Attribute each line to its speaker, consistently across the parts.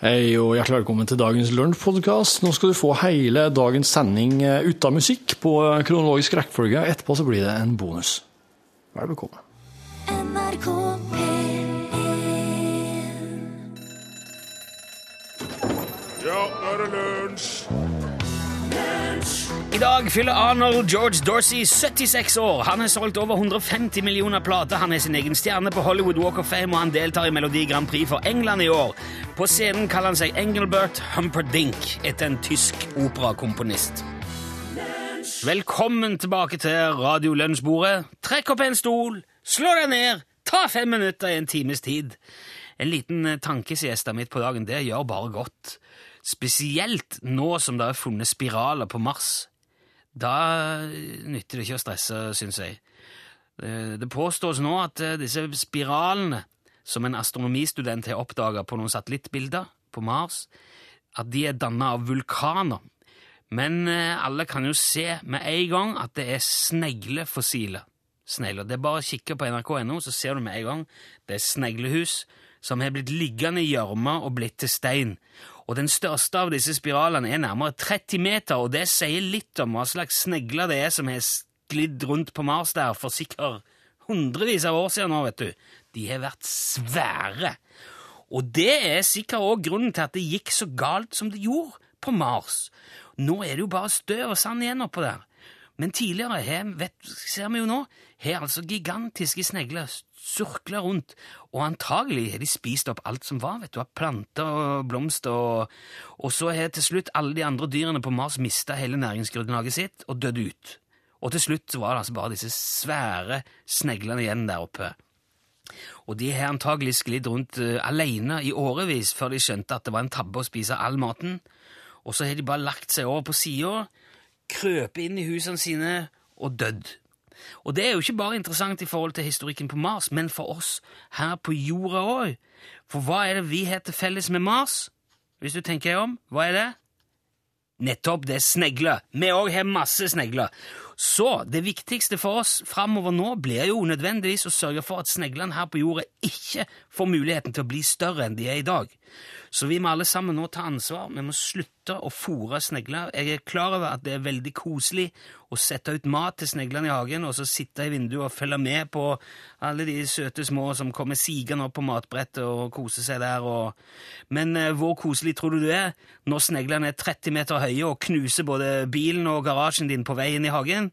Speaker 1: Hei og hjertelig velkommen til dagens lunsjpodkast. Nå skal du få hele dagens sending eh, uten musikk på eh, kronologisk rekkefølge. Etterpå så blir det en bonus. Vær velkommen.
Speaker 2: NRK P1
Speaker 3: Ja, nå er det lunsj!
Speaker 4: I dag fyller Arnold George Dorsey 76 år. Han har solgt over 150 millioner plater, han er sin egen stjerne på Hollywood Walk of Fame, og han deltar i Melodi Grand Prix for England i år. På scenen kaller han seg Engelbert Humperdinck, etter en tysk operakomponist. Velkommen tilbake til Radio Lunsjbordet. Trekk opp en stol, slå deg ned, ta fem minutter i en times tid. En liten eh, tankesiesta midt på dagen, det gjør bare godt. Spesielt nå som det er funnet spiraler på Mars. Da eh, nytter det ikke å stresse, syns jeg. Eh, Det påstås nå at eh, disse spiralene som en astronomistudent har oppdaga på noen satellittbilder på Mars, at de er danna av vulkaner. Men eh, alle kan jo se med en gang at det er sneglefossiler. Snegler. Det er bare å kikke på nrk.no, så ser du med en gang. Det er sneglehus som har blitt liggende i gjørma og blitt til stein. Og den største av disse spiralene er nærmere 30 meter, og det sier litt om hva slags snegler det er som har sklidd rundt på Mars der for sikkert hundrevis av år siden nå, vet du. De har vært svære. Og det er sikkert òg grunnen til at det gikk så galt som det gjorde på Mars. Nå er det jo bare støv og sand igjen oppå der. Men tidligere har, vet, ser vi jo nå, har altså gigantiske snegler surkla rundt, og antagelig har de spist opp alt som var, vet du, av planter og blomster, og, og så har til slutt alle de andre dyrene på Mars mista hele næringsgrunnlaget sitt og dødd ut. Og til slutt så var det altså bare disse svære sneglene igjen der oppe. Og de har antagelig sklidd rundt eh, alene i årevis før de skjønte at det var en tabbe å spise all maten. Og så har de bare lagt seg over på sida, krøpet inn i husene sine og dødd. Og det er jo ikke bare interessant i forhold til historikken på Mars, men for oss her på jorda òg. For hva er det vi har til felles med Mars? Hvis du tenker deg om, hva er det? Nettopp, det er snegler. Vi òg har masse snegler. Så det viktigste for oss framover nå blir jo nødvendigvis å sørge for at sneglene her på jorda ikke får muligheten til å bli større enn de er i dag. Så vi må alle sammen nå ta ansvar. Vi må slutte å fòre snegler. Jeg er klar over at det er veldig koselig å sette ut mat til sneglene i hagen, og så sitte i vinduet og følge med på alle de søte små som kommer sigende opp på matbrettet og koser seg der. Og... Men eh, hvor koselig tror du det er når sneglene er 30 meter høye og knuser både bilen og garasjen din på vei inn i hagen?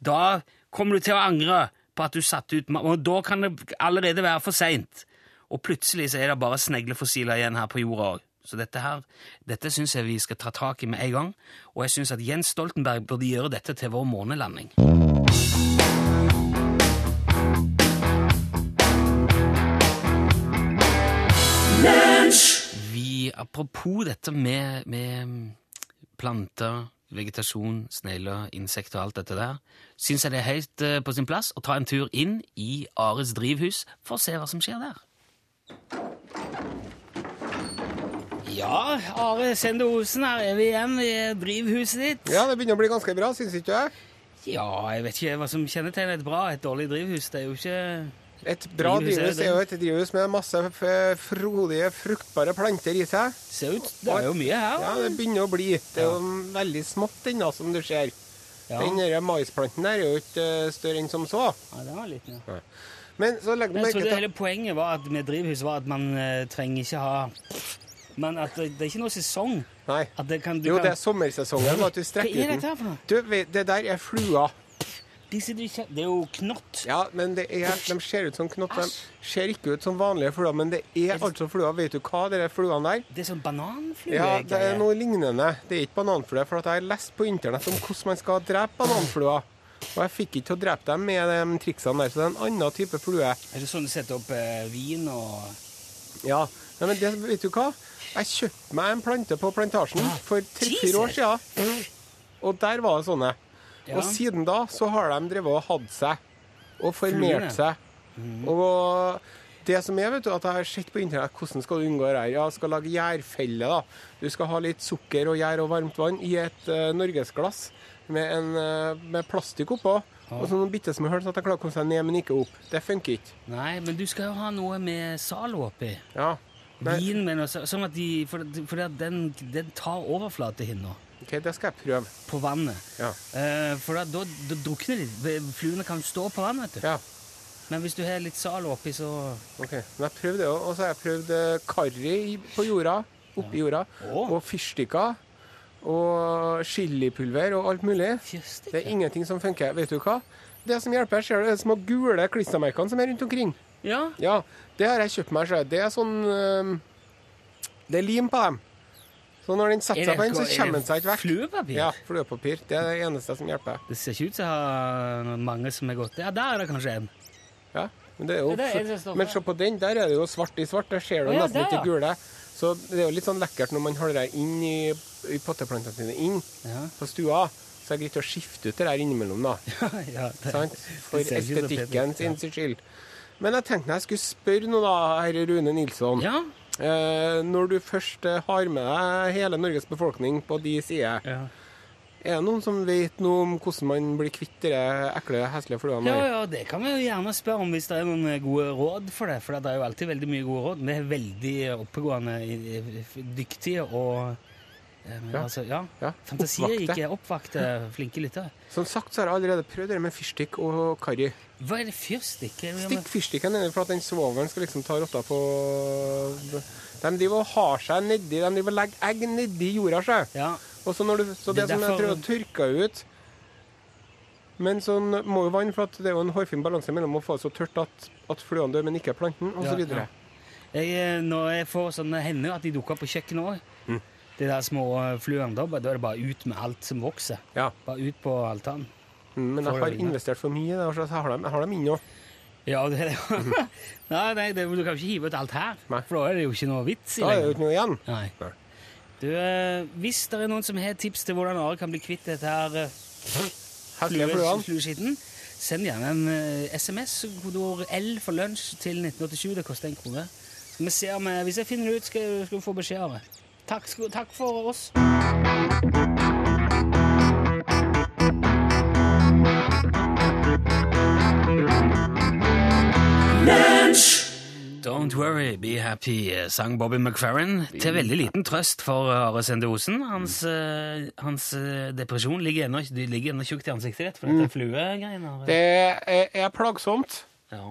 Speaker 4: Da kommer du til å angre på at du satte ut ma- Og da kan det allerede være for seint. Og plutselig så er det bare sneglefossiler igjen her på jorda òg. Så dette her, dette syns jeg vi skal ta tak i med en gang. Og jeg syns at Jens Stoltenberg burde gjøre dette til vår månelanding. Vi, apropos dette med, med mm, planter, vegetasjon, snegler, insekter og alt dette der, syns jeg det er helt eh, på sin plass å ta en tur inn i Ares drivhus for å se hva som skjer der. Ja, Are Sende Osen, her er vi igjen i drivhuset ditt.
Speaker 3: Ja, det begynner å bli ganske bra, syns ikke jeg?
Speaker 4: Ja, jeg vet ikke hva som kjennetegner et bra et dårlig drivhus. Det er jo ikke
Speaker 3: Et bra
Speaker 4: Drivhus er
Speaker 3: drivhus
Speaker 4: det.
Speaker 3: er jo et drivhus med masse f- frodige, fruktbare planter i seg.
Speaker 4: Ser ut Det er jo mye her.
Speaker 3: Ja, det begynner å bli. Det er jo veldig smått ennå, som du ser.
Speaker 4: Ja.
Speaker 3: Den der maisplanten der er jo ikke eh, større enn som så.
Speaker 4: Ja, det var litt, ja.
Speaker 3: Men så legger du
Speaker 4: Men jeg
Speaker 3: merke
Speaker 4: trodde
Speaker 3: til
Speaker 4: hele poenget var at med drivhus var at man eh, trenger ikke ha Men at det, det er ikke noe sesong.
Speaker 3: Nei.
Speaker 4: At det kan, du
Speaker 3: Jo,
Speaker 4: kan,
Speaker 3: det er sommersesongen. At du
Speaker 4: Hva
Speaker 3: strekker
Speaker 4: er
Speaker 3: ut
Speaker 4: dette
Speaker 3: den.
Speaker 4: her for noe?
Speaker 3: Du, vet- det der er flua.
Speaker 4: De sitter ikke Det er jo knott.
Speaker 3: Ja, men det er, de ser ut som knott. De ser ikke ut som vanlige fluer, men det er altså flua. Vet du hva, de der fluene der?
Speaker 4: Det er sånn bananflue. eh,
Speaker 3: Ja, det er noe lignende. Det er ikke bananflue, for at jeg har lest på internett om hvordan man skal drepe bananfluer. Og jeg fikk ikke til å drepe dem med de triksene der, så det er en annen type flue.
Speaker 4: Er det sånn du setter opp eh, vin og
Speaker 3: Ja, Nei, men det, vet du hva? Jeg kjøpte meg en plante på plantasjen for tre-fire år siden. Og der var det sånne.
Speaker 4: Ja.
Speaker 3: Og siden da så har de drevet og hatt seg og
Speaker 4: Fluene.
Speaker 3: formert seg. Og det som er, vet du, at jeg har sett på internett hvordan skal du unngå det her. Ja, skal lage gjærfelle, da. Du skal ha litt sukker og gjær og varmt vann i et eh, norgesglass med, en, eh, med plastikk oppå. Og så noen bitte små hull, så at jeg klarer å komme seg ned, men ikke opp. Det funker ikke.
Speaker 4: Nei, men du skal jo ha noe med Zalo oppi.
Speaker 3: Ja.
Speaker 4: Vin, men også, sånn at de, for, for at den, den tar overflatehinna
Speaker 3: Ok, det skal jeg prøve.
Speaker 4: på vannet.
Speaker 3: Ja.
Speaker 4: Eh, for da, da, da drukner de. Fluene kan stå på vann, vet du.
Speaker 3: ja.
Speaker 4: Men hvis du har litt sal oppi, så
Speaker 3: Ok, men jeg prøvde det også, og så har jeg prøvd eh, karri i- på jorda, oppi jorda,
Speaker 4: Åh.
Speaker 3: og fyrstikker, og chilipulver og alt mulig. Det er
Speaker 4: Fyrstikk?
Speaker 3: ingenting som funker. Vet du hva? Det som hjelper, ser du, er de små gule klistremerkene som er rundt omkring.
Speaker 4: Ja.
Speaker 3: Ja, det har jeg kjøpt meg sjøl. Det er sånn eh, Det er lim på dem. Så når den setter seg på den, så kommer den seg ikke vekk.
Speaker 4: fluepapir?
Speaker 3: Ja, fluepapir. Det er det eneste som hjelper.
Speaker 4: Det ser ikke ut som jeg har noen mange som er gått Ja, der er det kanskje en.
Speaker 3: Ja, men det er jo
Speaker 4: Det er det eneste stoffet.
Speaker 3: Men se på den, der er det jo svart i svart. Der ser du
Speaker 4: Å ja,
Speaker 3: nesten
Speaker 4: der,
Speaker 3: ikke
Speaker 4: ja.
Speaker 3: gule. Så det er jo litt sånn lekkert når man holder det inn i, i potteplantene sine inn
Speaker 4: Ja,
Speaker 3: på stua. Så er det greit å skifte ut det der innimellom, da.
Speaker 4: ja det,
Speaker 3: Sant? For
Speaker 4: ser ikke så pent ut,
Speaker 3: estetikken
Speaker 4: ja.
Speaker 3: sin sin skyld. Men jeg tenkte jeg skulle spørre nå, da, herre Rune Nilsson.
Speaker 4: ja.
Speaker 3: Eh, når du først eh, har med deg hele Norges befolkning på de sider,
Speaker 4: ja.
Speaker 3: er det noen som vet noe om hvordan man blir kvitt de ekle, heslige fluene?
Speaker 4: Ja,
Speaker 3: her?
Speaker 4: ja, det kan vi jo gjerne spørre om hvis det er noen eh, gode råd for det. For det er jo alltid veldig mye gode råd. Vi er veldig oppegående, i- i- dyktige og eh, men
Speaker 3: Ja.
Speaker 4: Altså, ja.
Speaker 3: Ja,
Speaker 4: Fantasierike, oppvakte, flinke lyttere.
Speaker 3: Som sagt så har jeg allerede prøvd det med fyrstikk og karri.
Speaker 4: Hva er det fyrstikk? Er det noe med-
Speaker 3: Stikk fyrstikken nedi for at den svovelen skal liksom ta rotta på De driver og har seg nedi, de driver og legger egg nedi jorda seg.
Speaker 4: Ja,
Speaker 3: Og så, når du, så
Speaker 4: Det
Speaker 3: det,
Speaker 4: er
Speaker 3: som jeg
Speaker 4: derfor-
Speaker 3: prøver å tørke ut Men så må jo vann, for at det er jo en hårfin balanse mellom å få det så tørt at, at fluene dør, men ikke planten,
Speaker 4: Ja,
Speaker 3: osv.
Speaker 4: ja. jeg, eh, når jeg får sånne hender at de dukker opp på kjøkkenet òg,
Speaker 3: Mm.
Speaker 4: de der små eh, fluene, da bare- da er det bare ut med alt som vokser.
Speaker 3: Ja.
Speaker 4: Bare ut på altanen.
Speaker 3: Mm, Men jeg
Speaker 4: Får
Speaker 3: har
Speaker 4: øynene.
Speaker 3: investert for mye i det, og så har de, jeg har dem inne òg.
Speaker 4: Ja, det er det. Nei, nei det, du kan jo ikke hive ut alt her,
Speaker 3: Nei.
Speaker 4: for da er det jo ikke noe vits i
Speaker 3: Da er det jo
Speaker 4: lenger.
Speaker 3: ikke noe igjen.
Speaker 4: Nei.
Speaker 3: Nei.
Speaker 4: Du, eh, hvis det er noen som har tips til hvordan Are kan bli kvitt dette her eh,
Speaker 3: Heslige
Speaker 4: flue-
Speaker 3: fluene.
Speaker 4: flueskitten, send gjerne en eh, SMS, kodeord L for lunsj, til 1987. Det koster en krone. Så vi ser om, eh, hvis jeg finner det ut, skal, skal du få beskjed av det. Takk, skal- takk for oss. Don't worry, be happy, eh, sang Bobby McFerrin. Til veldig liten trøst for eh, Are Sende Osen. Hans, eh, hans eh, depresjon ligger ennå det ligger ennå tjukt i ansiktet ditt, for dette fluegreiene. Are.
Speaker 3: Det er, er plagsomt.
Speaker 4: Ja.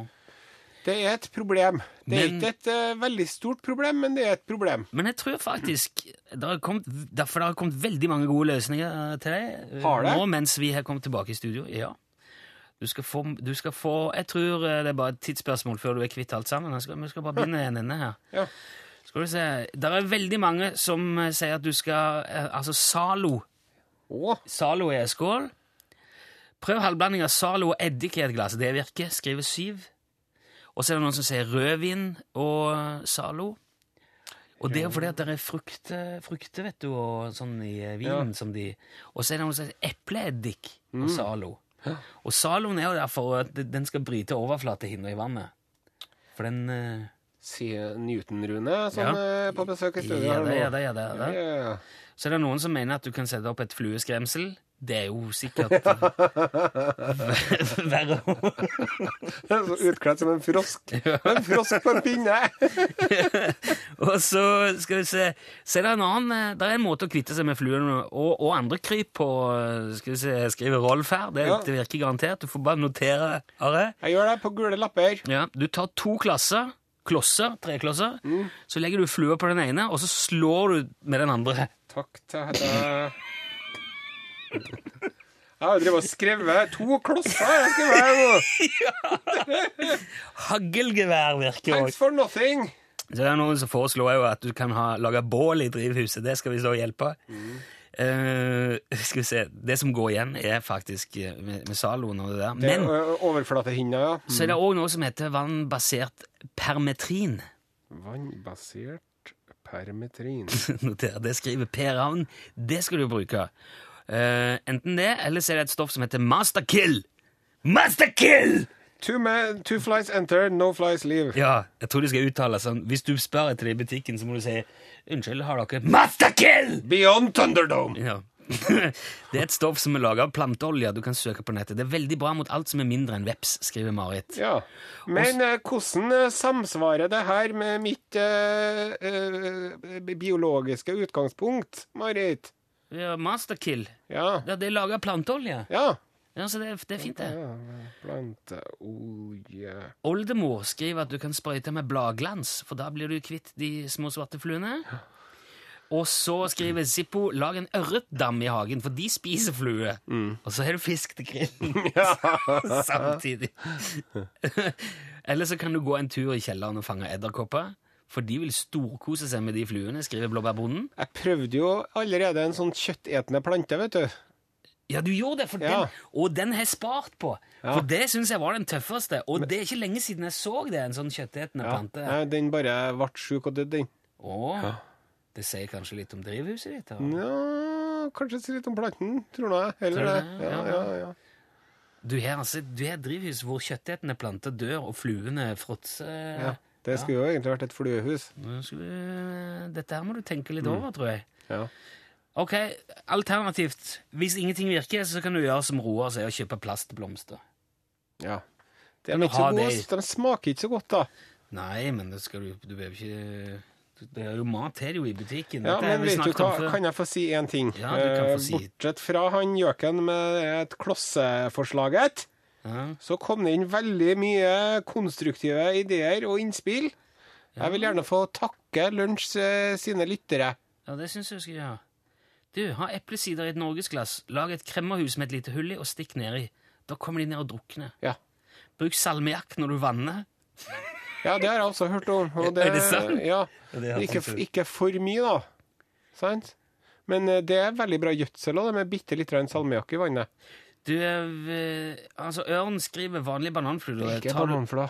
Speaker 3: Det er et problem. Det er
Speaker 4: Men-
Speaker 3: ikke et eh, veldig stort problem, men det er et problem.
Speaker 4: Men jeg tror faktisk det har kommet, Derfor det har kommet veldig mange gode løsninger eh, til deg eh,
Speaker 3: Har det?
Speaker 4: nå mens vi har kommet tilbake i studio. Ja. Du skal, få, du skal få Jeg tror eh, det er bare et tidsspørsmål før du er kvitt alt sammen. Jeg skal, vi skal bare begynne i en ende her.
Speaker 3: Ja.
Speaker 4: Skal vi se Det er veldig mange som eh, sier at du skal eh, Altså Zalo.
Speaker 3: Å,
Speaker 4: Zalo i en skål. Prøv halvblanding av Zalo og eddik i et glass. Det virker. Skriver syv. Og så er det noen som sier rødvin og Zalo. Og det er jo fordi at det er frukter, frukter vet du, og sånn i eh, vinen som de Og så er det noen som sier epleeddik og Zalo. Og Zaloen er jo der for at den skal bryte overflatehinna i vannet. For den eh,
Speaker 3: sier Newton-Rune, som
Speaker 4: Ja.
Speaker 3: er på besøk i studio
Speaker 4: Ja,
Speaker 3: her nå.
Speaker 4: det, ja, det, ja, det, ja, det.
Speaker 3: Ja, ja, ja.
Speaker 4: Så er det noen som mener at du kan sette opp et flueskremsel. Det er jo sikkert verre.
Speaker 3: Så utkledd som en frosk. En frosk på en pinne!
Speaker 4: og så skal vi se Så er det en annen eh, Det er en måte å kvitte seg med fluene og, og andre kryp på. eh, Skal vi se, skriver Rolf her. Det,
Speaker 3: Ja.
Speaker 4: det virker garantert. Du får bare notere, Are.
Speaker 3: Jeg gjør det på gule lapper.
Speaker 4: Ja, du tar to klasser, klosser, treklosser, så legger du flua på den ene, og så slår du med den andre.
Speaker 3: Takk til Hedda. Jeg har drevet og skrevet to klosser. Jeg skrev her.
Speaker 4: Haglgevær virker òg.
Speaker 3: Thanks for nothing.
Speaker 4: Så det er noen som foreslår jo at du kan ha, lage bål i drivhuset. Det skal vi så hjelpe.
Speaker 3: Mm.
Speaker 4: Eh, skal vi se Det som går igjen, er faktisk eh, med, med saloen og det der.
Speaker 3: Det er Mm.
Speaker 4: Men
Speaker 3: ø- Overflatehinna, ja.
Speaker 4: så er det òg noe som heter vannbasert permetrin.
Speaker 3: Vannbasert permetrin.
Speaker 4: Noter, det skriver Per Ravn. Det skal du bruke. Eh, enten det, eller så er det et stoff som heter masterkill. Masterkill!
Speaker 3: Two, men, two flies enter, no flies leave.
Speaker 4: Ja, jeg tror de skal uttale sånn. Hvis du spør etter det i butikken, så må du si Unnskyld, har dere Masterkill?
Speaker 3: Beyond Thunderdome.
Speaker 4: Ja. Det er et stoff som er laga av planteolje. Du kan søke på nettet. Det er veldig bra mot alt som er mindre enn veps, skriver Marit.
Speaker 3: Ja. Men eh, hvordan eh, samsvarer det her med mitt eh, eh, biologiske utgangspunkt, Marit?
Speaker 4: Ja, Masterkill.
Speaker 3: Ja.
Speaker 4: Ja, det er laga av planteolje.
Speaker 3: Ja.
Speaker 4: Ja, så det, er- det er fint, det.
Speaker 3: ja Planteolje
Speaker 4: Oldemor skriver at du kan sprøyte med bladglans, for da blir du kvitt de små svarte fluene. Og så skriver Zippo 'lag en ørretdam i hagen, for de spiser flue'.
Speaker 3: Mm.
Speaker 4: Og så har du fisk til grillen samtidig. Eller så kan du gå en tur i kjelleren og fange edderkopper, for de vil storkose seg med de fluene, skriver blåbærbonden.
Speaker 3: Jeg prøvde jo allerede en sånn kjøttetende plante, vet du.
Speaker 4: Ja, du gjorde det, for
Speaker 3: Ja.
Speaker 4: den, og den har jeg spart på. For det syns jeg var den tøffeste, og det er ikke lenge siden jeg så det, en sånn kjøttetende
Speaker 3: Ja.
Speaker 4: plante.
Speaker 3: Nei, Den bare ble sjuk og døde, den.
Speaker 4: Åh, det sier kanskje litt om drivhuset ditt? da.
Speaker 3: Ja, kanskje si litt om planten, tror nå jeg. Heller det.
Speaker 4: Tror du det?
Speaker 3: Ja, ja, ja.
Speaker 4: Du har altså, du har et drivhus hvor kjøttetende planter dør, og fluene fråtser.
Speaker 3: ja. Det skulle jo egentlig vært et fluehus.
Speaker 4: Nå skal vi- Dette her må du tenke litt
Speaker 3: Mm.
Speaker 4: over, tror jeg.
Speaker 3: Ja.
Speaker 4: Ok, Alternativt, hvis ingenting virker, så kan du gjøre som Roar sier, og kjøpe plastblomster.
Speaker 3: ja. De,
Speaker 4: Men
Speaker 3: er ikke så
Speaker 4: ha det
Speaker 3: gode,
Speaker 4: i-
Speaker 3: ass. de smaker ikke så godt, da.
Speaker 4: Nei, men det skal du, du behøver ikke Det er jo mat til det jo i butikken.
Speaker 3: Ja,
Speaker 4: Dette har
Speaker 3: men
Speaker 4: vi
Speaker 3: vet du
Speaker 4: snakket om
Speaker 3: hva,
Speaker 4: før.
Speaker 3: kan jeg få si én ting?
Speaker 4: Ja, du kan få
Speaker 3: Eh,
Speaker 4: si-
Speaker 3: Bortsett fra han gjøken med et klosseforslaget,
Speaker 4: Ja.
Speaker 3: så kom det inn veldig mye konstruktive ideer og innspill. Jeg vil gjerne få takke Lunsj eh, sine lyttere.
Speaker 4: Ja, det syns jeg du skal gjøre. Du, ha eplesider i et norgesglass, lag et kremmerhus med et lite hull i, og stikk nedi. Da kommer de ned og drukner.
Speaker 3: Ja.
Speaker 4: Bruk salmiakk når du vanner.
Speaker 3: ja, det har jeg også hørt om. Og
Speaker 4: Er det sant?
Speaker 3: Ja.
Speaker 4: Ja, det har jeg
Speaker 3: Ikke,
Speaker 4: tenkt
Speaker 3: ikke for mye, da. Sant? Men eh, det er veldig bra gjødsel òg, med bitte litt grann salmiakk i vannet.
Speaker 4: Du, eh, altså, Ørn skriver vanlig bananflue.
Speaker 3: Det er ikke
Speaker 4: Tar du-
Speaker 3: bananflua.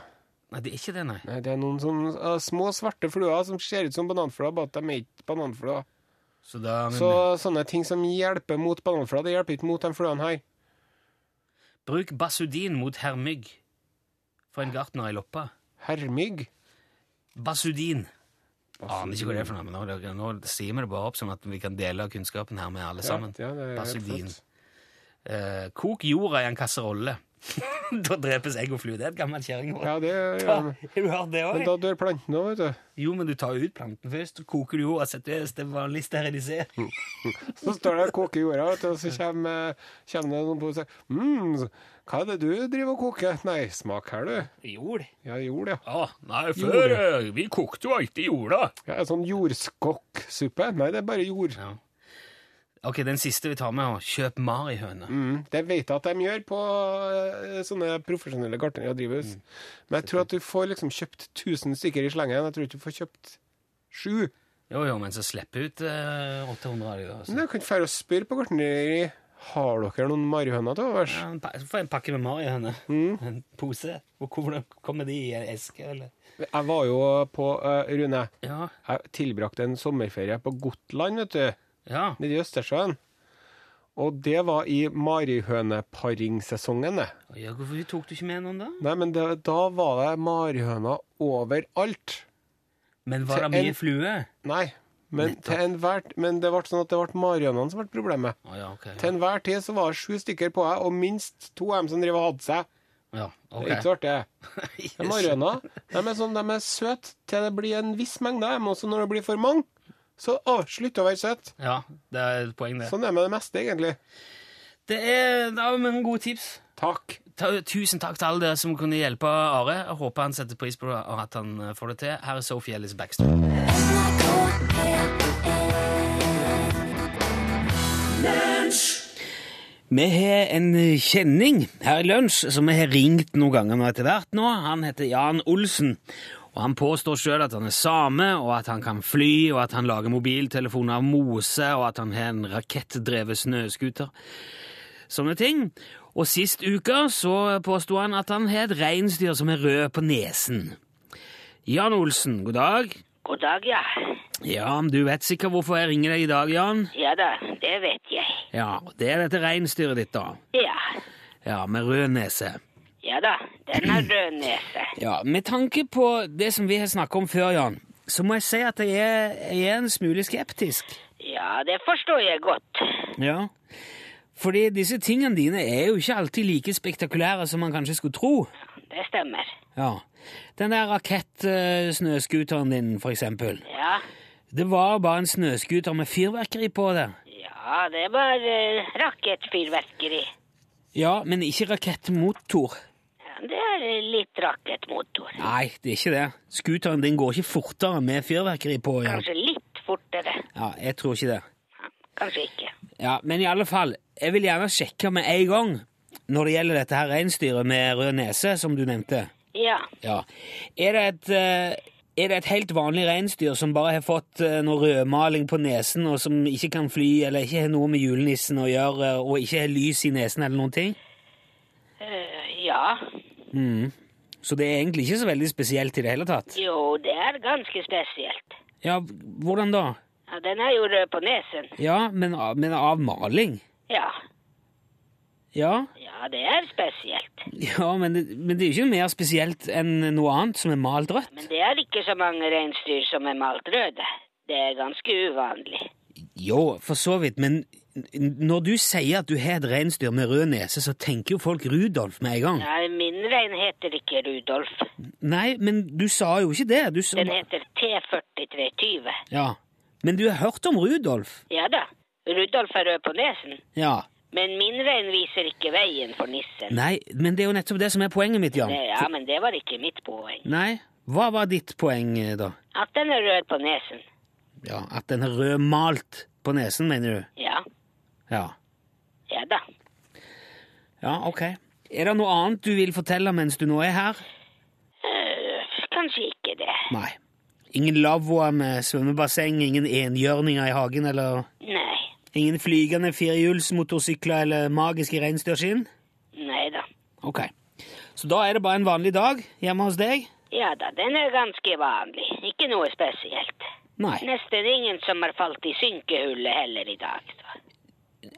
Speaker 4: Nei, det er ikke det, nei.
Speaker 3: Nei, det er noen sånne eh, små, svarte fluer som ser ut som bananfluer, bare at de er ikke bananfluer.
Speaker 4: Så da,
Speaker 3: Så sånne ting som hjelper mot bananfluer, det hjelper ikke mot de fluene her.
Speaker 4: Bruk basudin mot herrmygg for en gartner i loppa.
Speaker 3: Hermygg.
Speaker 4: Basudin. Aner ikke hva det er for noe, men nå, nå sier vi det bare opp sånn at vi kan dele kunnskapen her med alle sammen.
Speaker 3: Ja, det er helt
Speaker 4: Basudin.
Speaker 3: flott.
Speaker 4: Eh, kok jorda i en kasserolle. da drepes egg og flue. Det er et gammelt kjerringråd.
Speaker 3: Ja, det
Speaker 4: Ja,
Speaker 3: gjør de.
Speaker 4: Har du hørt det
Speaker 3: Men
Speaker 4: òg?
Speaker 3: da dør planten òg, vet du.
Speaker 4: Jo, men du tar jo ut planten først, og koker jorda, setter det til vanlig sterilisering.
Speaker 3: Så står det og koker i jorda, vet du, og så kommer, kommer det noen på og sier mm, hva er det du driver og koker? Nei, smak her, du.
Speaker 4: Jord?
Speaker 3: Ja, jord, ja.
Speaker 4: Ja, nei, eh,
Speaker 3: før,
Speaker 4: Vi kokte jo alltid jorda.
Speaker 3: ja sånn jordskokksuppe? Nei, det er bare jord.
Speaker 4: Ja. Ok, den siste vi tar med, er kjøp marihøne.
Speaker 3: Mm, det vet jeg at de gjør på eh, sånne profesjonelle gartnere og drivhus. Men jeg tror at du får liksom kjøpt 1000 stykker i slengen. Jeg tror ikke du får kjøpt sju.
Speaker 4: Jo, jo, men så slipper ut eh, 800 av dem. da,
Speaker 3: Men
Speaker 4: så.
Speaker 3: jeg kan fære og spørre på gartneri Har dere noen marihøner til overs?
Speaker 4: Ja, en pa- Så får jeg en pakke med marihøne. En pose. Og hvordan kommer de i en eske, eller?
Speaker 3: Jeg var jo på eh, Rune.
Speaker 4: Ja,
Speaker 3: Jeg tilbrakte en sommerferie på Gotland, vet du.
Speaker 4: ja.
Speaker 3: Nede i Østersjøen. Og det var i marihøneparingssesongen. det.
Speaker 4: ja hvorfor tok du ikke med noen da?
Speaker 3: Nei, men det, da var det marihøner overalt.
Speaker 4: Men var det
Speaker 3: Til en-
Speaker 4: mye flue?
Speaker 3: Nei. Men, til enhver, men det ble sånn at det ble marihønene som ble problemet.
Speaker 4: Å ja, ok.
Speaker 3: Til enhver tid så var det sju stykker på deg, og minst to av dem som driver og hadde seg.
Speaker 4: Ja,
Speaker 3: Det
Speaker 4: ok.
Speaker 3: er ikke så artig.
Speaker 4: Yes.
Speaker 3: Det er Marihøner de er, sånn, de er søte til det blir en viss mengde. av dem, Og så når det blir for mange, så å, slutt å være søt.
Speaker 4: Ja, det er et poeng, det.
Speaker 3: Sånn er det med det meste, egentlig.
Speaker 4: Det er, det er mange gode tips.
Speaker 3: Takk.
Speaker 4: Ta, tusen takk til alle dere som kunne hjelpe Are. Jeg håper han setter pris på det, og at han eh, får det til. Her er Sophie Ellis Baxter. Vi har en kjenning her i lunsj som vi har ringt noen ganger nå etter hvert. nå. Han heter Jan Olsen, og han påstår sjøl at han er same, og at han kan fly, og at han lager mobiltelefoner av mose, og at han har en rakettdrevet snøscooter. Sånne ting. Og sist uke så påsto han at han har et reinsdyr som er rød på nesen. Jan Olsen, god dag.
Speaker 2: God dag, ja.
Speaker 4: Ja, du vet sikkert hvorfor jeg ringer deg i dag, Jan.
Speaker 2: Ja da, det vet jeg.
Speaker 4: Ja, det er dette reinsdyret ditt, da.
Speaker 2: Ja.
Speaker 4: Ja, med rød nese.
Speaker 2: Ja da, den har rød nese.
Speaker 4: Ja, Med tanke på det som vi har snakka om før, Jan, så må jeg si at jeg er, jeg er en smule skeptisk.
Speaker 2: Ja, det forstår jeg godt.
Speaker 4: Ja. Fordi disse tingene dine er jo ikke alltid like spektakulære som man kanskje skulle tro.
Speaker 2: Det stemmer.
Speaker 4: Ja. Den der rakettsnøscooteren din, for eksempel.
Speaker 2: Ja,
Speaker 4: Det var bare en snøscooter med fyrverkeri på det.
Speaker 2: ja det var uh, rakettfyrverkeri.
Speaker 4: Ja, men ikke rakettmotor.
Speaker 2: Ja, det er eh, litt rakettmotor.
Speaker 4: Nei, det er ikke det. Scooteren din går ikke fortere med fyrverkeri på. Ja.
Speaker 2: Kanskje litt fortere.
Speaker 4: ja, jeg tror ikke det.
Speaker 2: Ja, Kanskje ikke.
Speaker 4: Ja, Men i alle fall, jeg vil gjerne sjekke med en gang når det gjelder dette her reinsdyret med rød nese, som du nevnte.
Speaker 2: Ja,
Speaker 4: Ja. Er det et, eh, er det et helt vanlig reinsdyr som bare har fått eh, noe rødmaling på nesen, og som ikke kan fly, eller ikke har noe med julenissen å gjøre, eh, og ikke har lys i nesen eller noen ting?
Speaker 2: eh, ja.
Speaker 4: Så det er egentlig ikke så veldig spesielt i det hele tatt.
Speaker 2: Jo, det er ganske spesielt.
Speaker 4: Ja, hvordan da?
Speaker 2: Ja, den er jo rød på nesen.
Speaker 4: Ja, men, av- men av maling?
Speaker 2: Ja,
Speaker 4: Ja,
Speaker 2: ja, det er spesielt.
Speaker 4: ja men, det, men det er jo ikke mer spesielt enn noe annet som er malt rødt.
Speaker 2: Men det er ikke så mange reinsdyr som er malt røde. Det er ganske uvanlig.
Speaker 4: Jo, for så vidt, men n- når du sier at du har et reinsdyr med rød nese, så tenker jo folk Rudolf med en gang.
Speaker 2: Nei, min rein heter ikke Rudolf.
Speaker 4: Nei, men du sa jo ikke det. Du sa,
Speaker 2: Den heter T4320.
Speaker 4: ja. Men du har hørt om Rudolf?
Speaker 2: Ja da, Rudolf er rød på nesen.
Speaker 4: Ja.
Speaker 2: Men min rein viser ikke veien for nissen.
Speaker 4: Nei, men det er jo nettopp det som er poenget mitt, Jan.
Speaker 2: Det, ja, men det var ikke mitt poeng.
Speaker 4: Nei, hva var ditt poeng eh, da?
Speaker 2: At den er rød på nesen.
Speaker 4: Ja, At den er rødmalt på nesen, mener du?
Speaker 2: Ja,
Speaker 4: Ja.
Speaker 2: ja da.
Speaker 4: Ja, ok. Er det noe annet du vil fortelle mens du nå er her?
Speaker 2: Øh, kanskje ikke det.
Speaker 4: Nei. Ingen lavvoer med svømmebasseng, ingen enhjørninger i hagen, eller
Speaker 2: Nei,
Speaker 4: ingen flygende firehjulsmotorsykler eller magiske reinsdyrskinn?
Speaker 2: nei da.
Speaker 4: Ok. Så da er det bare en vanlig dag hjemme hos deg?
Speaker 2: Ja da, den er ganske vanlig. Ikke noe spesielt.
Speaker 4: Nei.
Speaker 2: Nesten ingen som har falt i synkehullet heller i dag. Så.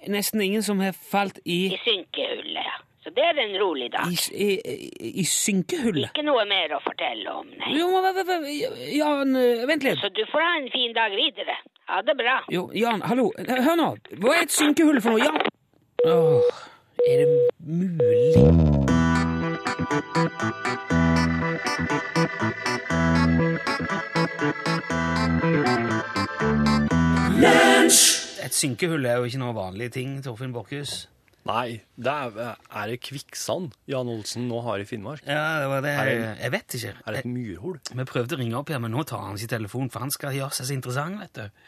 Speaker 4: Nesten ingen som har falt i
Speaker 2: I synkehullet, ja. Så det er en rolig dag.
Speaker 4: I, i, i, i synkehullet?
Speaker 2: Ikke noe mer å fortelle om, nei.
Speaker 4: Jo, men men- men- Jan, eh, vent litt.
Speaker 2: Så du får ha en fin dag videre. Ha det bra.
Speaker 4: Jo, Jan, hallo. Hør nå. Hva er et synkehull for noe? Jan? Åh, er det mulig Et synkehull er jo ikke noe vanlig ting, Torfinn Borkhus.
Speaker 1: Nei, det er, er det kvikksand Jan Olsen nå har i Finnmark?
Speaker 4: Ja, det var det.
Speaker 1: Er
Speaker 4: Jeg vet ikke.
Speaker 1: Er det et myrhull?
Speaker 4: Vi prøvde å ringe opp her, men nå tar han ikke telefonen, for han skal gjøre seg så interessant, vet du.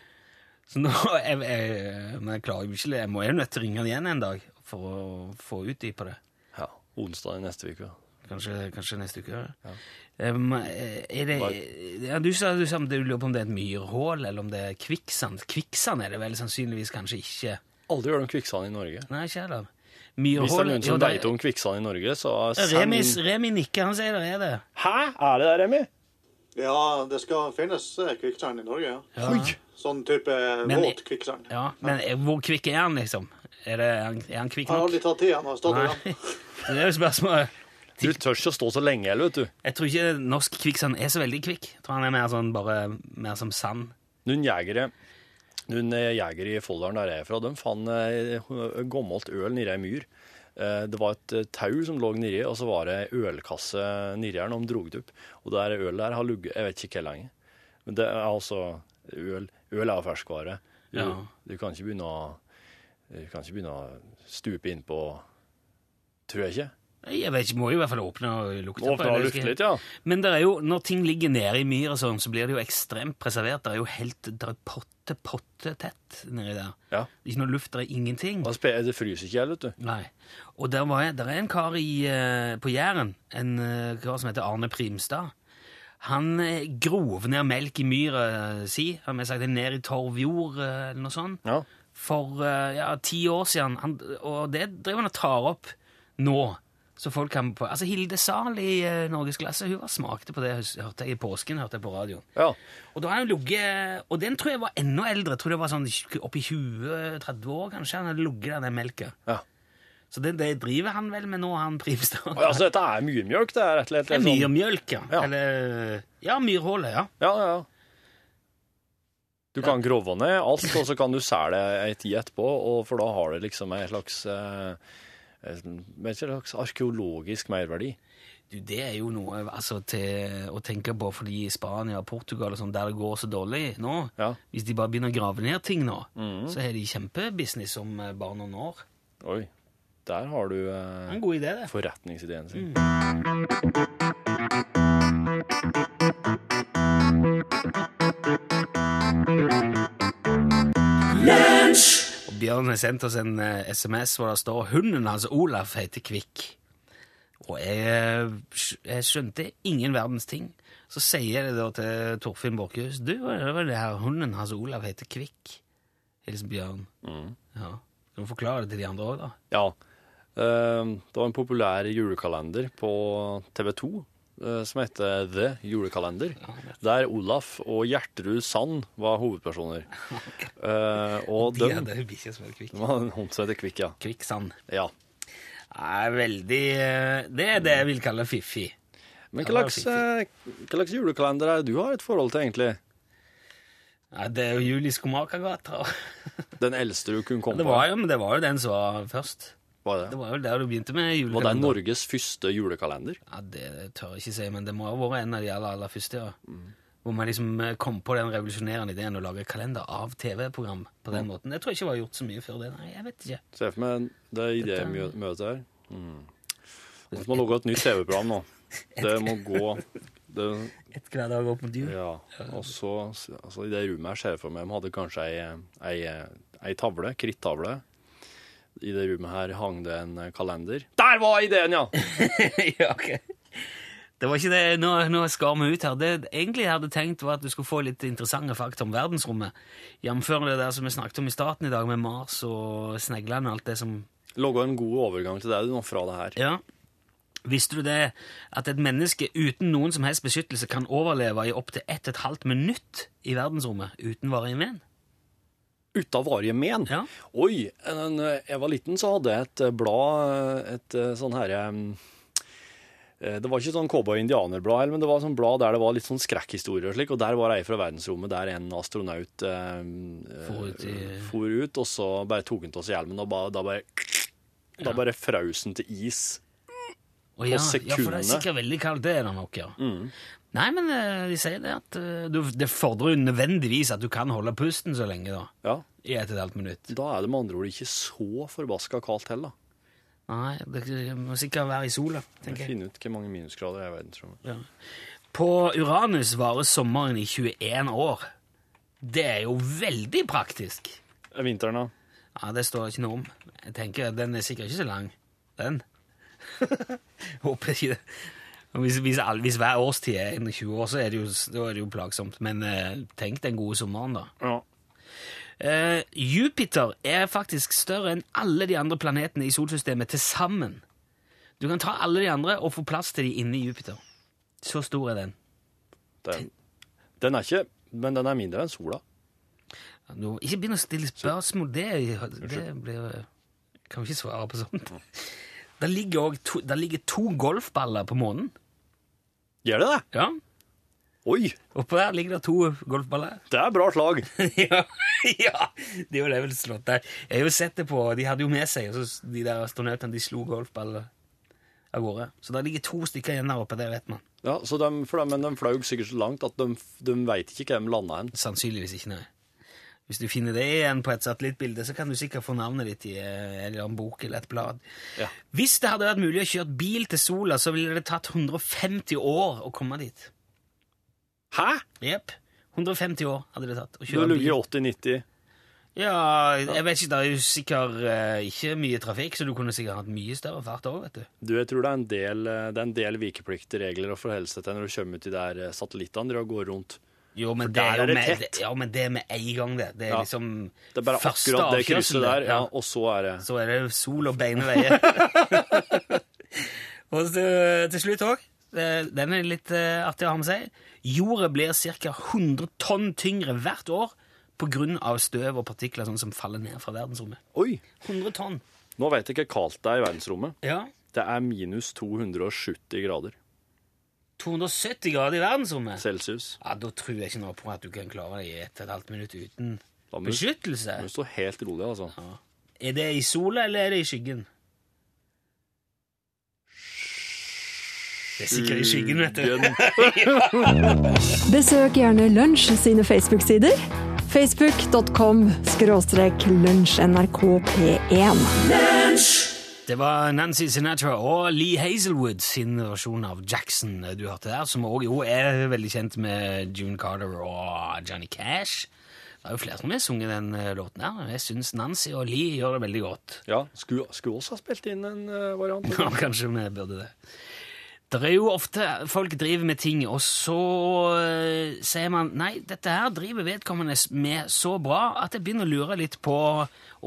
Speaker 4: Så nå jeg, jeg, men jeg klarer jo ikke det. Jeg må jo nødt til å ringe han igjen en dag for å få utdype det.
Speaker 1: Ja, onsdag i neste uke.
Speaker 4: Kanskje, kanskje neste uke. Ja. Um, er det, ja, du sa du, sa om det- du lurer på om det er et myrhull, eller om det er kvikksand. Kvikksand er det vel sannsynligvis kanskje ikke.
Speaker 1: Aldri hørt om kvikksand i Norge.
Speaker 4: Nei, ikke heller.
Speaker 1: Hvis det er
Speaker 4: Myrhull
Speaker 1: noen
Speaker 4: jo,
Speaker 1: som
Speaker 4: det-
Speaker 1: veit om kvikksand i Norge, så send
Speaker 4: Remi, Remi nikker, han sier det er det.
Speaker 1: Hæ? Er det det, Remi?
Speaker 5: Ja, det skal finnes eh, kvikksand i Norge. ja.
Speaker 1: Oi!
Speaker 5: Sånn type
Speaker 4: Men-
Speaker 5: våt kvikksand. Jeg
Speaker 4: Ja, men eh, hvor kvikk er han, liksom? Er, det, er, han, er han kvikk
Speaker 5: har
Speaker 4: nok?
Speaker 5: aldri tatt i han og stått i
Speaker 4: Nei.
Speaker 5: den.
Speaker 4: Det er jo spørsmålet.
Speaker 1: Du tør ikke å stå så lenge, eller, vet du.
Speaker 4: Jeg tror ikke norsk kvikksand er så veldig kvikk. Jeg tror han er mer sånn bare mer som sand.
Speaker 1: Noen jegere noen eh, jegere i Folldalen der jeg er fra, de fant eh, ho- gammelt øl nedi ei myr. Eh, Det var et eh, tau som lå nedi, og så var det ei ølkasse nedi her når de drog det opp. Og det der ølet der har ligget Jeg vet ikke hvor lenge. Men det er altså Øl, øl er jo ferskvare. Du,
Speaker 4: Ja.
Speaker 1: du kan ikke begynne å Du kan ikke begynne å stupe innpå Tror jeg ikke.
Speaker 4: Jeg vet ikke, Må jo i hvert fall åpne og lukte. på
Speaker 1: Åpne og
Speaker 4: det,
Speaker 1: lufte
Speaker 4: husker jeg.
Speaker 1: litt, ja.
Speaker 4: Men det er jo, når ting ligger nede i myr, og sånn, så blir det jo ekstremt preservert. Det er jo helt det er potte, potte tett nedi der.
Speaker 1: ja.
Speaker 4: Det er Ikke noe luft, det er ingenting.
Speaker 1: Og spe- det fryser ikke i hjel, vet du.
Speaker 4: Nei. Og der, var jeg, der er en kar i, eh, på Jæren, en eh, kar som heter Arne Primstad. Han eh, grov ned melk i myra si, har vi sagt, ned i torv jord eh, eller noe sånt,
Speaker 1: Ja.
Speaker 4: for eh, ja, ti år siden. Han, og det driver han og tar opp nå. Så folk kan på, altså Hilde Sahl i eh, Norgesklasse hun var smakte på det høs- hørte jeg i påsken. hørte jeg på radioen.
Speaker 1: ja.
Speaker 4: Og da har han ligget Og den tror jeg var enda eldre. Jeg tror det var sånn oppi 20-30 år, kanskje. Han hadde ligget der, den melka.
Speaker 1: ja.
Speaker 4: Så det, det driver han vel med nå, han Primstad.
Speaker 1: Oi, altså, dette er myrmjølk, det er rett og slett
Speaker 4: det er
Speaker 1: litt sånn-
Speaker 4: myrmjølk, ja.
Speaker 1: Ja.
Speaker 4: Eller, ja, myrhullet, ja.
Speaker 1: Ja, ja, ja. Du kan grove ned alt, og så kan du selge ei tid etterpå, og for da har det liksom en slags eh, en en slags arkeologisk merverdi.
Speaker 4: Du, det er jo noe altså, til å tenke på for de i Spania og Portugal, og sånn, der det går så dårlig nå.
Speaker 1: Ja.
Speaker 4: Hvis de bare begynner å grave ned ting nå, så har de kjempebusiness om eh, bare noen år.
Speaker 1: Oi, der har du
Speaker 4: Det er
Speaker 1: eh,
Speaker 4: en god idé, det.
Speaker 1: forretningsideen sin.
Speaker 4: Og Bjørn har sendt oss en eh, SMS hvor det står hunden hans Olaf heter Kvikk. Og jeg, eh, skj- jeg skjønte ingen verdens ting. Så sier jeg det da til Torfinn Borchhus. Du, hva er det var det her hunden hans Olaf heter Kvikk. Hilsen Bjørn. Mhm. Ja. Kan du forklare det til de andre òg, da?
Speaker 1: Ja. eh, Det var en populær julekalender på TV 2 eh, som heter The Julekalender, der Olaf og Gjertrud Sand var hovedpersoner. Eh, Og
Speaker 4: De
Speaker 1: dem
Speaker 4: hadde jo bikkja som het Kvikk.
Speaker 1: De hadde en hund som heter Kvikk, ja.
Speaker 4: Kvikksand.
Speaker 1: ja.
Speaker 4: Nei, veldig eh, Det er det jeg vil kalle fiffig.
Speaker 1: Men
Speaker 4: Ja,
Speaker 1: hva
Speaker 4: det var
Speaker 1: slags, eh, hva slags julekalender er det du har et forhold til, egentlig?
Speaker 4: Nei, det er jo Julie Skomakergata.
Speaker 1: Den eldste du kunne komme
Speaker 4: Det
Speaker 1: på?
Speaker 4: var jo, men det var jo den som var først.
Speaker 1: Var
Speaker 4: Det
Speaker 1: det?
Speaker 4: var jo der du begynte med
Speaker 1: Var det
Speaker 4: julekalender.
Speaker 1: Norges første julekalender?
Speaker 4: Ja, det tør jeg ikke si, men det må ha vært en av de aller, aller første, ja. Hvor man liksom eh, kom på den revolusjonerende ideen å lage kalender av TV-program på den måten. Jeg tror ikke det var gjort så mye før det. Nei, jeg vet ikke.
Speaker 1: Se for meg det idémøtet her. Mm. Vi må lage et nytt TV-program nå. Det må gå det,
Speaker 4: Et hver dag opp mot jul.
Speaker 1: Ja. Og så altså, I det rommet her ser jeg for meg de hadde kanskje ei, ei, ei tavle, krittavle. I det rommet her hang det en eh, kalender. Der var ideen, ja!
Speaker 4: ja, ok. Det var ikke det, nå, nå skar vi ut her. Det jeg egentlig jeg hadde tenkt var at du skulle få litt interessante fakta om verdensrommet. Jamfør det der som vi snakket om i starten i dag med Mars og sneglene og alt det som...
Speaker 1: Laga en god overgang til deg du, nå fra det her.
Speaker 4: Ja. Visste du det at et menneske uten noen som helst beskyttelse kan overleve i opptil 1,5 minutt i verdensrommet uten varig men?
Speaker 1: Uten varige men.
Speaker 4: Ja.
Speaker 1: Oi, en, en, jeg var liten så hadde jeg et eh, blad, eh, et eh, sånn herre det var ikke sånn cowboy-indianerblad, eller, men det var sånn blad der det var litt sånn skrekkhistorier og slik, og der var ei fra verdensrommet der en astronaut eh,
Speaker 4: For ut i-
Speaker 1: eh, for ut, og så bare tok han av seg hjelmen, og ba, da bare da bare frøs han til is.
Speaker 4: Og ja, ja, for det er
Speaker 1: sekundene.
Speaker 4: sikkert veldig kaldt, det er det nok, ja. Nei, men eh, de sier det at eh, du, det fordrer jo nødvendigvis at du kan holde pusten så lenge, da.
Speaker 1: Ja,
Speaker 4: I 1,5 minutt.
Speaker 1: Da er det med andre ord ikke så forbaska kaldt heller.
Speaker 4: Nei, det det må sikkert være i sola, tenker jeg.
Speaker 1: Finne ut hvor mange minusgrader det er i verdensrommet.
Speaker 4: På Uranus varer sommeren i 21 år. Det er jo veldig praktisk.
Speaker 1: Eh, Vinteren, da?
Speaker 4: Ja, det står ikke noe om. Jeg tenker, Den er sikkert ikke så lang, den. Håper ikke det. Og Hvis, hvis, all- hvis hver årstid er 21 år, så er det jo, da er det jo plagsomt. Men eh, tenk den gode sommeren, da.
Speaker 1: Ja.
Speaker 4: Eh, Jupiter er faktisk større enn alle de andre planetene i solsystemet til sammen. Du kan ta alle de andre og få plass til de inni Jupiter. Så stor er den.
Speaker 1: Den, den er ikke Men den er mindre enn sola.
Speaker 4: Ja, Nå, ikke begynn å stille spørsmål. Det, det blir eh, Kan vi ikke svare på sånt. Der ligger, også to, der ligger to golfballer på månen.
Speaker 1: Gjør det det?
Speaker 4: Ja.
Speaker 1: Oi,
Speaker 4: Oppå der ligger det to golfballer.
Speaker 1: det er bra slag.
Speaker 4: ja, ja, det er jo det vel slått der. Jeg har jo sett det på De hadde jo med seg og så, s- de der astronautene. De slo golfballer av gårde. Så der ligger to stykker igjen der oppe. Det vet man.
Speaker 1: Ja, så de, for de, men de fløy sikkert så langt at de, de veit ikke hvor de landa hen.
Speaker 4: Sannsynligvis ikke, nei. Hvis du finner det igjen på et satellittbilde, så kan du sikkert få navnet ditt i eh, en eller annen bok eller et blad.
Speaker 1: Ja.
Speaker 4: Hvis det hadde vært mulig å kjøre bil til sola, så ville det tatt 150 år å komme dit.
Speaker 1: Hæ?
Speaker 4: Jepp. 150 år hadde det tatt å
Speaker 1: Du
Speaker 4: kjøre
Speaker 1: ligger i
Speaker 4: bil.
Speaker 1: 80-90.
Speaker 4: Ja, jeg vet ikke, det er jo sikkert eh, ikke mye trafikk, så du kunne sikkert hatt mye større fart òg, vet du.
Speaker 1: Du, jeg tror det er en del, eh, det er en del vikepliktregler å forholde seg til når du kommer ut i der eh, satellittene driver og går rundt.
Speaker 4: Jo,
Speaker 1: der
Speaker 4: men det er
Speaker 1: er
Speaker 4: jo
Speaker 1: det
Speaker 4: med,
Speaker 1: tett.
Speaker 4: ja, men det er med en gang, det. Det er
Speaker 1: Ja.
Speaker 4: liksom
Speaker 1: Det er bare
Speaker 4: første
Speaker 1: akkurat det
Speaker 4: avkjørsel,
Speaker 1: krysset der, ja,
Speaker 4: Ja.
Speaker 1: og så er det
Speaker 4: så er det sol og beine veier. og så, eh, til slutt òg, den er litt eh, artig å ha med seg. Jorda blir ca. 100 tonn tyngre hvert år pga. støv og partikler sånn som faller ned fra verdensrommet.
Speaker 1: Oi!
Speaker 4: 100 tonn.
Speaker 1: Nå veit jeg ikke hvor kaldt det er i verdensrommet.
Speaker 4: Ja.
Speaker 1: Det er minus 270 grader.
Speaker 4: 270 grader i verdensrommet,
Speaker 1: Celsius.
Speaker 4: ja, da tror jeg ikke noe på at du kan klare deg i ett og et halvt minutt uten
Speaker 1: Da må du-
Speaker 4: beskyttelse.
Speaker 1: Du står helt rolig, altså.
Speaker 4: Er det i sola, eller er det i skyggen? Det er sikkert i skyggen, vet du.
Speaker 1: Gønn.
Speaker 6: Besøk gjerne Lunsj sine Facebook-sider. Facebook.com skråstrek lunsjnrkp1.
Speaker 4: Det var Nancy Sinatra og Lee Hazelwood sin versjon av Jackson eh, du hørte der, som også jo er veldig kjent med June Carter og Johnny Cash. Det er jo flere som har sunget den eh, låten her, og jeg syns Nancy og Lee gjør det veldig godt.
Speaker 1: Ja, skulle, skulle også ha spilt inn en eh, variant.
Speaker 4: Ja, kanskje vi burde det. Det er jo ofte folk driver med ting, og så eh, sier man nei, dette her driver vedkommende s- med så bra at jeg begynner å lure litt på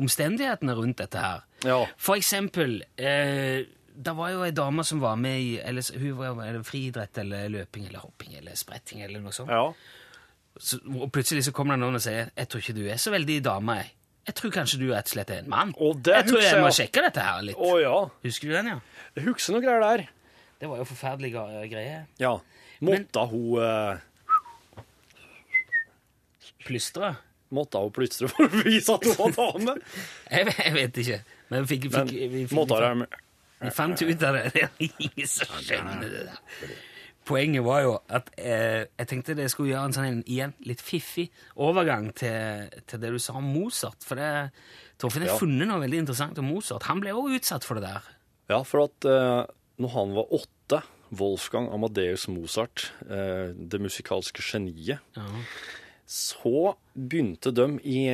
Speaker 4: omstendighetene rundt dette her.
Speaker 1: Ja.
Speaker 4: For eksempel, eh, det var jo ei dame som var med i eller, s- hun var, var det friidrett eller løping eller hopping eller spretting eller noe sånt.
Speaker 1: Ja.
Speaker 4: Så, og plutselig så kommer det noen og sier jeg tror ikke du er så veldig dame, jeg. Jeg tror kanskje du rett og slett er en mann.
Speaker 1: Å, det
Speaker 4: jeg tror
Speaker 1: husker
Speaker 4: jeg må
Speaker 1: jeg.
Speaker 4: sjekke dette her litt.
Speaker 1: Å ja.
Speaker 4: Husker du den, ja?
Speaker 1: Jeg husker noen greier der.
Speaker 4: Det var jo forferdelige eh, greier.
Speaker 1: Ja.
Speaker 4: Men-
Speaker 1: Måtte hun eh,
Speaker 4: Plystre?
Speaker 1: Måtte hun plystre for å vise at hun var dame?
Speaker 4: Jeg, ve- jeg vet ikke. Men vi fikk,
Speaker 1: Men
Speaker 4: fikk, vi, fikk,
Speaker 1: måtte
Speaker 4: vi,
Speaker 1: hun
Speaker 4: fant, vi fant ut av det. Det er ingen som skjønner det der. Poenget var jo at eh, jeg tenkte det skulle gjøre en sånn en- igjen litt fiffig overgang til, til det du sa om Mozart. For det, Torfinn har
Speaker 1: Ja.
Speaker 4: funnet noe veldig interessant om Mozart. Han ble òg utsatt for det der.
Speaker 1: Ja, for at eh, når han var åtte, Wolfgang Amadeus Mozart, eh, det musikalske geniet,
Speaker 4: Ja.
Speaker 1: så begynte de i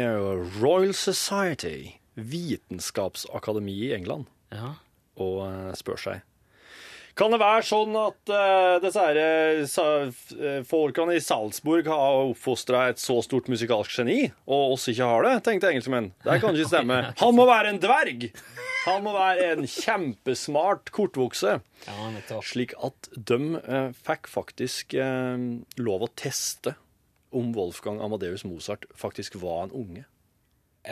Speaker 1: Royal Society, vitenskapsakademiet i England,
Speaker 4: Ja.
Speaker 1: å eh, spørre seg. Kan det være sånn at eh, disse her, eh, sa- f- eh, folkene i Salzburg har oppfostra et så stort musikalsk geni, og oss ikke har det? tenkte engelskmenn. Det kan ikke stemme. Han må være en dverg! Han må være en kjempesmart kortvokse.
Speaker 4: ja, nettopp.
Speaker 1: Slik at de eh, fikk faktisk eh, lov å teste om Wolfgang Amadeus Mozart faktisk var en unge.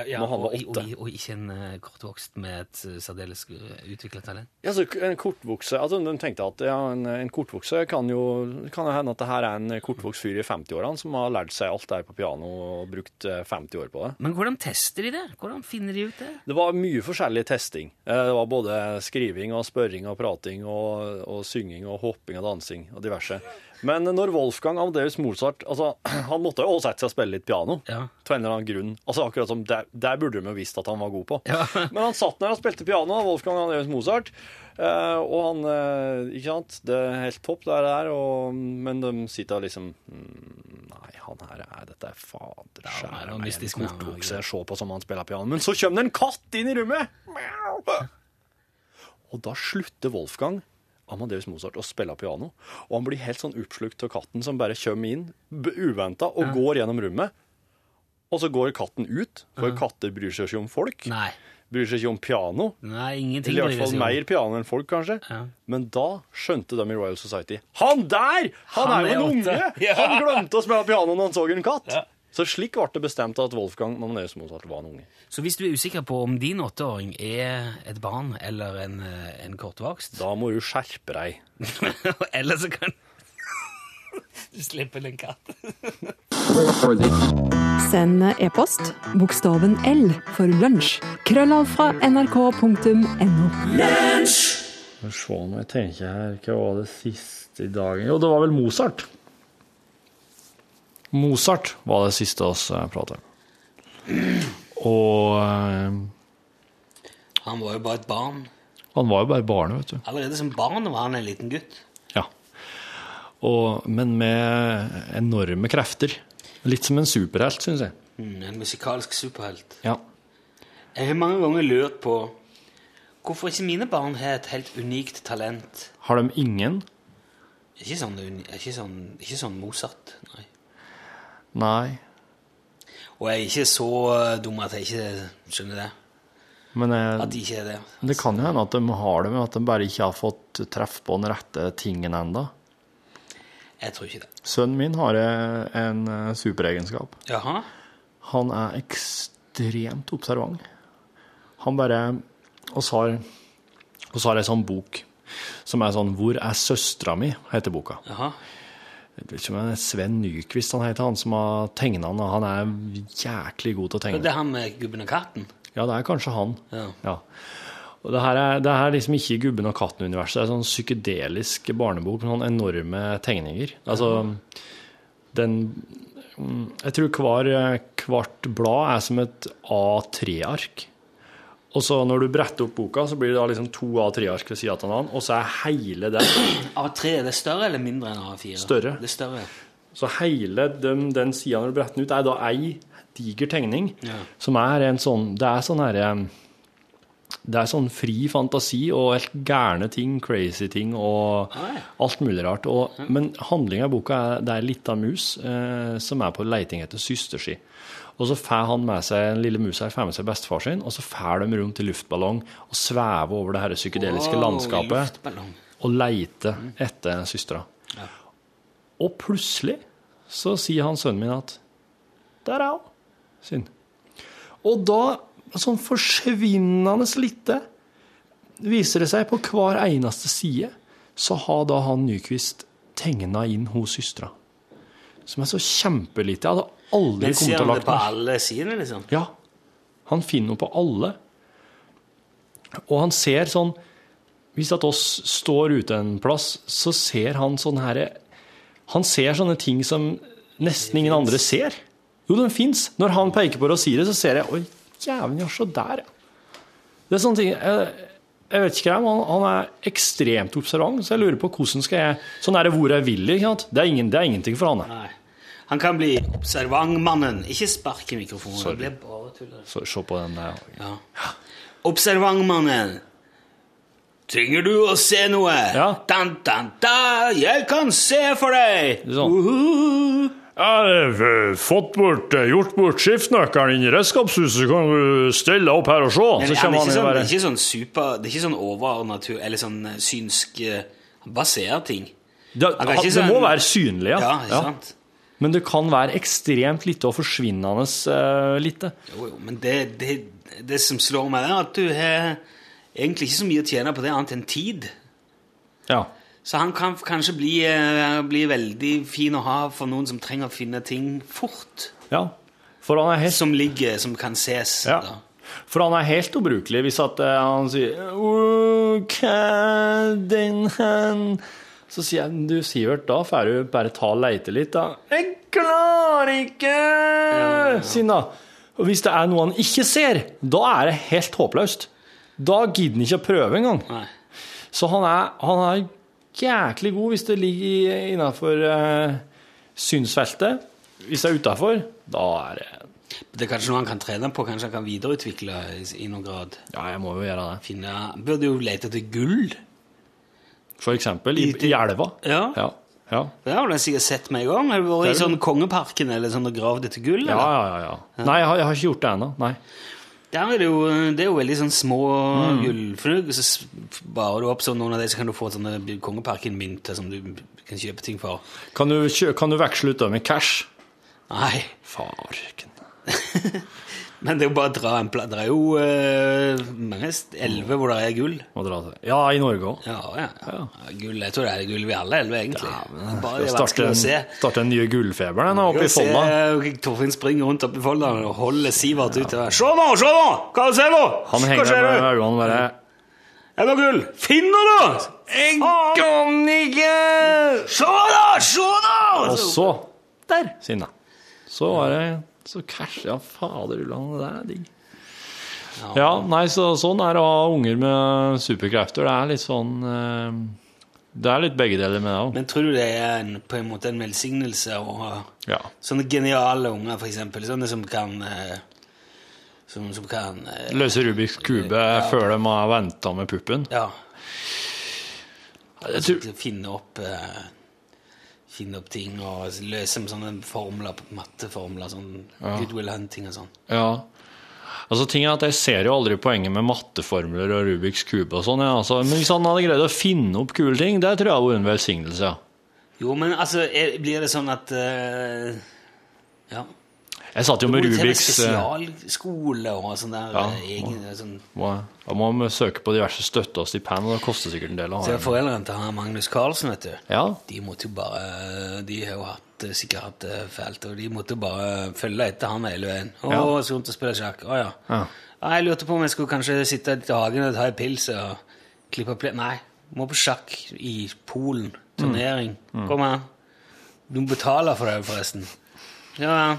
Speaker 4: Ja,
Speaker 1: Når han var
Speaker 4: og, og,
Speaker 1: åtte.
Speaker 4: og ikke en eh, kortvokst med et eh, særdeles utvikla talent.
Speaker 1: Ja, så en kortvokse, altså De tenkte at ja, en, en kortvokse kan jo kan det hende at det her er en kortvokst fyr i 50-årene som har lært seg alt det her på piano og brukt eh, 50 år på det.
Speaker 4: Men hvordan tester de det? Hvordan finner de ut det?
Speaker 1: Det var mye forskjellig testing. Eh, Det var både skriving og spørring og prating og, og synging og hopping og dansing og diverse. Men når Wolfgang Amadeus Mozart altså, Han måtte jo også sette seg og spille litt piano.
Speaker 4: Ja.
Speaker 1: Til en eller annen grunn. Altså akkurat som Der, der burde de jo visst at han var god på.
Speaker 4: Ja.
Speaker 1: Men han satt der og spilte piano, Wolfgang Amadeus Mozart. eh, og han eh, Ikke sant? Det er helt topp, det her. er, og- Men de sitter og liksom mm, Nei, han her er Dette er fader
Speaker 4: Ja, nei, det var
Speaker 1: skjære meg en
Speaker 4: mystisk, men-
Speaker 1: kortvokse jeg se på som han spiller piano. Men så kommer det en katt inn i rommet! Og da slutter Wolfgang Amadeus Mozart å spille piano. Og han blir helt sånn oppslukt av katten som bare kommer inn uventa og går gjennom rommet. Og så går katten ut, for katter bryr seg ikke om folk.
Speaker 4: Nei.
Speaker 1: Bryr seg ikke om piano.
Speaker 4: Nei, ingenting
Speaker 1: Eller i hvert
Speaker 4: bryr
Speaker 1: fall
Speaker 4: seg om.
Speaker 1: mer piano enn folk, kanskje.
Speaker 4: Ja.
Speaker 1: Men da skjønte de i Royal Society Han der! Han,
Speaker 4: Han
Speaker 1: er jo
Speaker 4: er
Speaker 1: en
Speaker 4: åtte.
Speaker 1: unge!
Speaker 4: Ja.
Speaker 1: Han glemte å spille piano når han så en katt! Så slik ble det bestemt at Wolfgang Amadeus Mozart var en unge.
Speaker 4: Så hvis du er usikker på om din åtteåring er et barn eller en, eh, en kortvokst,
Speaker 1: Da må du skjerpe deg.
Speaker 4: eller så kan du slippe den katten.
Speaker 6: Send e-post bokstaven L for lunsj. Krøllav fra nrk.no.
Speaker 1: Skal vi se om jeg tenker her Hva var det siste i dagen? Jo, det var vel Mozart. Mozart var det siste oss eh, pratet om. Og eh,
Speaker 4: Han var jo bare et barn.
Speaker 1: han var jo bare barnet, vet du.
Speaker 4: Allerede som barn var han en liten gutt.
Speaker 1: Ja. Og, men med enorme krefter. Litt som en superhelt, syns jeg.
Speaker 4: Mm, en musikalsk superhelt.
Speaker 1: Ja.
Speaker 4: Jeg har mange ganger lurt på hvorfor ikke mine barn har et helt unikt talent.
Speaker 1: Har de ingen?
Speaker 4: Ikke sånn, uni- ikke sånn, ikke sånn Mozart, nei.
Speaker 1: Nei.
Speaker 4: Og jeg er ikke så eh, dum at jeg ikke skjønner det.
Speaker 1: Men
Speaker 4: At de
Speaker 1: eh,
Speaker 4: ikke er det.
Speaker 1: det kan jo hende at de har det, men at de bare ikke har fått treff på den rette tingen enda.
Speaker 4: Jeg tror ikke det.
Speaker 1: Sønnen min har eh, en eh, superegenskap.
Speaker 4: Jaha?
Speaker 1: Han er ekstremt observant. Han bare oss har, oss har ei sånn bok som er sånn 'Hvor er søstera mi?' heter boka.
Speaker 4: Jaha.
Speaker 1: Jeg vet ikke om det er Sven Nyquist han heter, han som har tegna den. og Han er jæklig god til å tegne.
Speaker 4: Det er han med gubben og katten.
Speaker 1: Ja, det er kanskje han.
Speaker 4: Ja.
Speaker 1: Og det her er, det her er liksom ikke Gubben og katten-universet. Det er sånn psykedelisk barnebok med sånne enorme tegninger. Altså, den mm, Jeg tror hver, hvert blad er som et A3-ark. Og så når du bretter opp boka, så blir det da liksom to A3-ark ved sida av hverandre, og så er hele den
Speaker 4: A3, er det større eller mindre enn A4?
Speaker 1: Større.
Speaker 4: Det er større.
Speaker 1: Så hele den, den sida når du bretter den ut, er da ei diger tegning
Speaker 4: Ja.
Speaker 1: som er en sånn Det er sånn herre Det er sånn fri fantasi og helt gærne ting, crazy ting og
Speaker 4: Ah, ja.
Speaker 1: alt mulig rart. Og, men handlinga i boka er det er ei lita mus eh, som er på leiting etter søster si. Og så får han med seg den lille musa her, får med seg bestefar sin, og så får de rundt i luftballong og svever over det her psykedeliske
Speaker 4: Wow,
Speaker 1: landskapet
Speaker 4: luftballong.
Speaker 1: og leite etter søstera. Og plutselig så sier han sønnen min at Der er hun! Sin. Og da, sånn forsvinnende lite, viser det seg på hver eneste side, så har da han Nyquist tegna inn hos søstera. Som er så kjempelite. Jeg hadde aldri
Speaker 4: Men
Speaker 1: kommet
Speaker 4: ser
Speaker 1: til å
Speaker 4: han det
Speaker 1: lagt
Speaker 4: på
Speaker 1: meg
Speaker 4: alle sidene, liksom?
Speaker 1: ja. Han finner noe på alle. Og han ser sånn Hvis at oss står ute en plass, så ser han sånn herre Han ser sånne ting som nesten ingen andre ser. Jo, den fins. Når han peker på det og sier det, så ser jeg Oi, jævlen, ja, se der, ja. Det er sånne ting jeg, jeg vet ikke, men han, han er ekstremt observant, så jeg lurer på hvordan skal jeg Sånn er det hvor jeg vil, ikke sant? Det er, ingen, det er ingenting for han.
Speaker 4: Nei. Han kan bli observantmannen. Ikke spark i mikrofonen.
Speaker 1: Sorry.
Speaker 4: Det blir bare tuller.
Speaker 1: Så se på den der.
Speaker 4: Ja. Observantmannen. Trenger du å se noe?
Speaker 1: Ja.
Speaker 4: Dan, dan, da, jeg kan se for deg!
Speaker 1: Sånn.
Speaker 4: Uhuhu.
Speaker 1: Jeg har fått bort, gjort bort skiftenøkkelen inn i redskapshuset, så kan du stelle opp her og se.
Speaker 4: Men
Speaker 1: Så
Speaker 4: han
Speaker 1: kommer
Speaker 4: er
Speaker 1: han
Speaker 4: ikke
Speaker 1: inn og
Speaker 4: sånn, det
Speaker 1: bare
Speaker 4: er ikke sånn super Det er ikke sånn overnatur... Eller sånn eh, synsk eh, Han bare ser ting.
Speaker 1: Det,
Speaker 4: han er ikke
Speaker 1: det må
Speaker 4: sånn-
Speaker 1: være synlig, ja.
Speaker 4: Ja, ikke
Speaker 1: Ja.
Speaker 4: sant?
Speaker 1: Men det kan være ekstremt lite og forsvinnende eh, lite.
Speaker 4: Jo, jo, men det, det, det som slår meg, er at du har egentlig ikke så mye å tjene på det annet enn tid.
Speaker 1: Ja.
Speaker 4: Så han kan f- kanskje bli, eh, bli veldig fin å ha for noen som trenger å finne ting fort.
Speaker 1: ja. For han er helt
Speaker 4: Som ligger, som kan ses.
Speaker 1: Ja.
Speaker 4: da.
Speaker 1: For han er helt ubrukelig hvis at eh, han sier «Åh, hva er den hen?» Så sier jeg, du Sivert, da får du bare ta og leite litt da. Jeg klarer ikke! Sier han da. Og hvis det er noe han ikke ser, da er det helt håpløst. Da gidder han ikke å prøve engang.
Speaker 4: Nei.
Speaker 1: Så han er, han er jæklig god hvis det ligger innenfor eh, synsfeltet. Hvis det er utenfor, da er det...
Speaker 4: Det er kanskje noe han kan trene på, kanskje han kan videreutvikle i, i noen grad.
Speaker 1: Ja, jeg må jo gjøre det.
Speaker 4: Finne, han burde jo lete etter gull.
Speaker 1: For eksempel i, i elva.
Speaker 4: Ja.
Speaker 1: Ja, ja.
Speaker 4: Det har han sikkert sett med en gang. Har du vært i
Speaker 1: Det er
Speaker 4: sånn Kongeparken eller sånn og gravd etter gull?
Speaker 1: ja,
Speaker 4: eller?
Speaker 1: ja, ja, ja. Nei, jeg har, jeg har ikke gjort det ennå. Nei.
Speaker 4: Der er det, jo, det er jo veldig sånn små
Speaker 1: Mm.
Speaker 4: gullfrug, så s- barer du opp sånn noen av dem, så kan du få sånne Kongeparken-mynter som du kan kjøpe ting for.
Speaker 1: Kan, du, kjø- kan du veksle ut det med cash?
Speaker 4: Nei,
Speaker 1: Farken.
Speaker 4: men det er jo bare å dra en plass. Det er jo eh, mange st- elver hvor det er gull.
Speaker 1: Må dra til. Ja, i Norge òg.
Speaker 4: Ja, ja. ja. Gull, jeg tror det er gull ved alle elver, egentlig. bare det er
Speaker 1: Starte
Speaker 4: vanskelig å se.
Speaker 1: den- starte den nye gullfeberen den, oppe
Speaker 4: Å
Speaker 1: i Folda.
Speaker 4: Se, eh, Torfinn springer rundt oppi Folda og holder Sivert ut. og Se nå, se nå! Hva ser du?
Speaker 1: Han
Speaker 4: Hva
Speaker 1: henger
Speaker 4: ser
Speaker 1: med
Speaker 4: du?
Speaker 1: øynene bare
Speaker 4: Er det gull? Finn det, da! Jeg kan ikke Se da, se da!
Speaker 1: Og så Der! Sinna. Så var det Så cash. Ja, fader ullan, det der er digg. Ja, nei, så sånn er det å ha unger med superkrefter. Det er litt sånn eh, Det er litt begge deler med det òg.
Speaker 4: Men tror du det er en, på en måte en velsignelse å ha
Speaker 1: Ja.
Speaker 4: sånne geniale unger, for eksempel? Sånne som kan eh, Som, som kan eh,
Speaker 1: Løse Rubiks kube før de har venta med puppen.
Speaker 4: Ja.
Speaker 1: Jeg tror,
Speaker 4: Finne opp eh, Finne opp ting og løse med sånne formler, matteformler, sånn goodwill hunting og sånn.
Speaker 1: ja. Altså, ting er at Jeg ser jo aldri poenget med matteformler og Rubiks kube. og sånn, ja. altså, Men hvis han hadde greid å finne opp kule ting, det tror jeg hadde vært en velsignelse. ja.
Speaker 4: Jo, men altså, er, blir det sånn at eh, Ja.
Speaker 1: Jeg satt jo med Rubiks eh,
Speaker 4: Spesialskole og sånn der.
Speaker 1: Ja.
Speaker 4: eh, egen- sånn.
Speaker 1: må, Da må man søke på diverse støtte- og stipend, og det koster sikkert en del å
Speaker 4: Så
Speaker 1: ha en.
Speaker 4: foreldrene til han Magnus Carlsen, vet du.
Speaker 1: Ja,
Speaker 4: De måtte jo bare eh, De har jo hatt, sikkert hatt det fælt, og de måtte jo bare følge etter han hele veien. Å,
Speaker 1: Ja.
Speaker 4: så vondt å spille sjakk. Å ja.
Speaker 1: Ja.
Speaker 4: Ja, Jeg lurte på om jeg skulle kanskje sitte litt i hagen og ta en pils og klippe ple... Nei, må på sjakk i Polen. Turnering. Kom her. Du må betale for det, forresten. Ja, ja.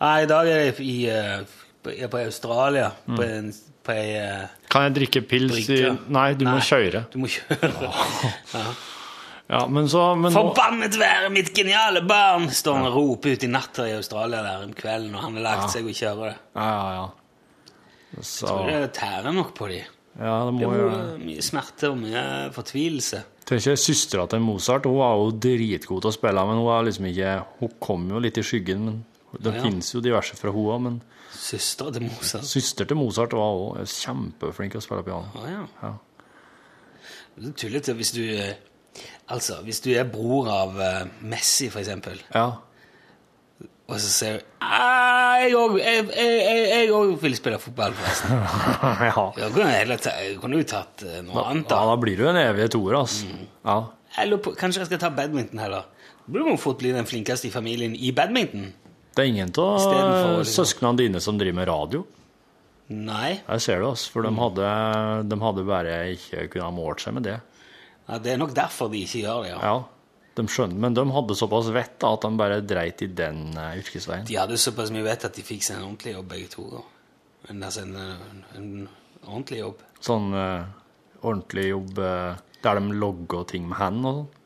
Speaker 4: Nei, i dag er jeg i, eh, på- jeg er på Australia, på en, på ei eh,
Speaker 1: Kan jeg drikke pils i
Speaker 4: Drikke.
Speaker 1: Nei, du må
Speaker 4: Nei.
Speaker 1: kjøre.
Speaker 4: Du må kjøre.
Speaker 1: Ja, men så men nå,
Speaker 4: Forbannet være mitt geniale barn! står han og roper ut i natta i Australia der om kvelden når han har lagt seg og kjører det.
Speaker 1: Ja, ja, ja. Så
Speaker 4: Og Det tærer nok på dem.
Speaker 1: Ja, det må
Speaker 4: Det
Speaker 1: jo
Speaker 4: er jo mye smerte og mye fortvilelse.
Speaker 1: Tenker søstera til Mozart hun var jo dritgod til å spille, men hun var liksom ikke Hun kom jo litt i skyggen, men det
Speaker 4: Ja.
Speaker 1: finnes jo diverse fra hun òg. Men
Speaker 4: Søstera til Mozart.
Speaker 1: søster til Mozart var òg kjempeflink til å spille piano.
Speaker 4: Å Ah, ja.
Speaker 1: Ja.
Speaker 4: Det er tullete hvis du eh, Altså, hvis du er bror av eh, Messi, for eksempel,
Speaker 1: Ja.
Speaker 4: og så sier du «Ah, jeg òg jeg, jeg, jeg, jeg også vil spille fotball, forresten.
Speaker 1: ja.
Speaker 4: Da kunne jeg heller ta- jeg kunne jo tatt eh, noe annet,
Speaker 1: ja,
Speaker 4: da.
Speaker 1: da blir du en evig toer, altså.
Speaker 4: Mm.
Speaker 1: Ja.
Speaker 4: Eller på, kanskje jeg skal ta badminton heller. Du må fort bli den flinkeste i familien i badminton.
Speaker 1: Det er ingen
Speaker 4: Istedenfor,
Speaker 1: av
Speaker 4: liksom.
Speaker 1: søsknene dine som driver med radio.
Speaker 4: Nei,
Speaker 1: Jeg ser det, altså.
Speaker 4: Mm.
Speaker 1: For de hadde, de hadde bare ikke kunnet ha målt seg med det.
Speaker 4: ja, det er nok derfor de ikke gjør det. Ja.
Speaker 1: Ja, de skjønner, Men de hadde såpass vett da, at de bare dreit i den eh, yrkesveien.
Speaker 4: De hadde såpass mye vett at de fikk seg en ordentlig jobb, begge to. Da. En, altså en, eh, en ordentlig jobb.
Speaker 1: Sånn eh, ordentlig jobb eh, der de logger ting med hendene og sånn.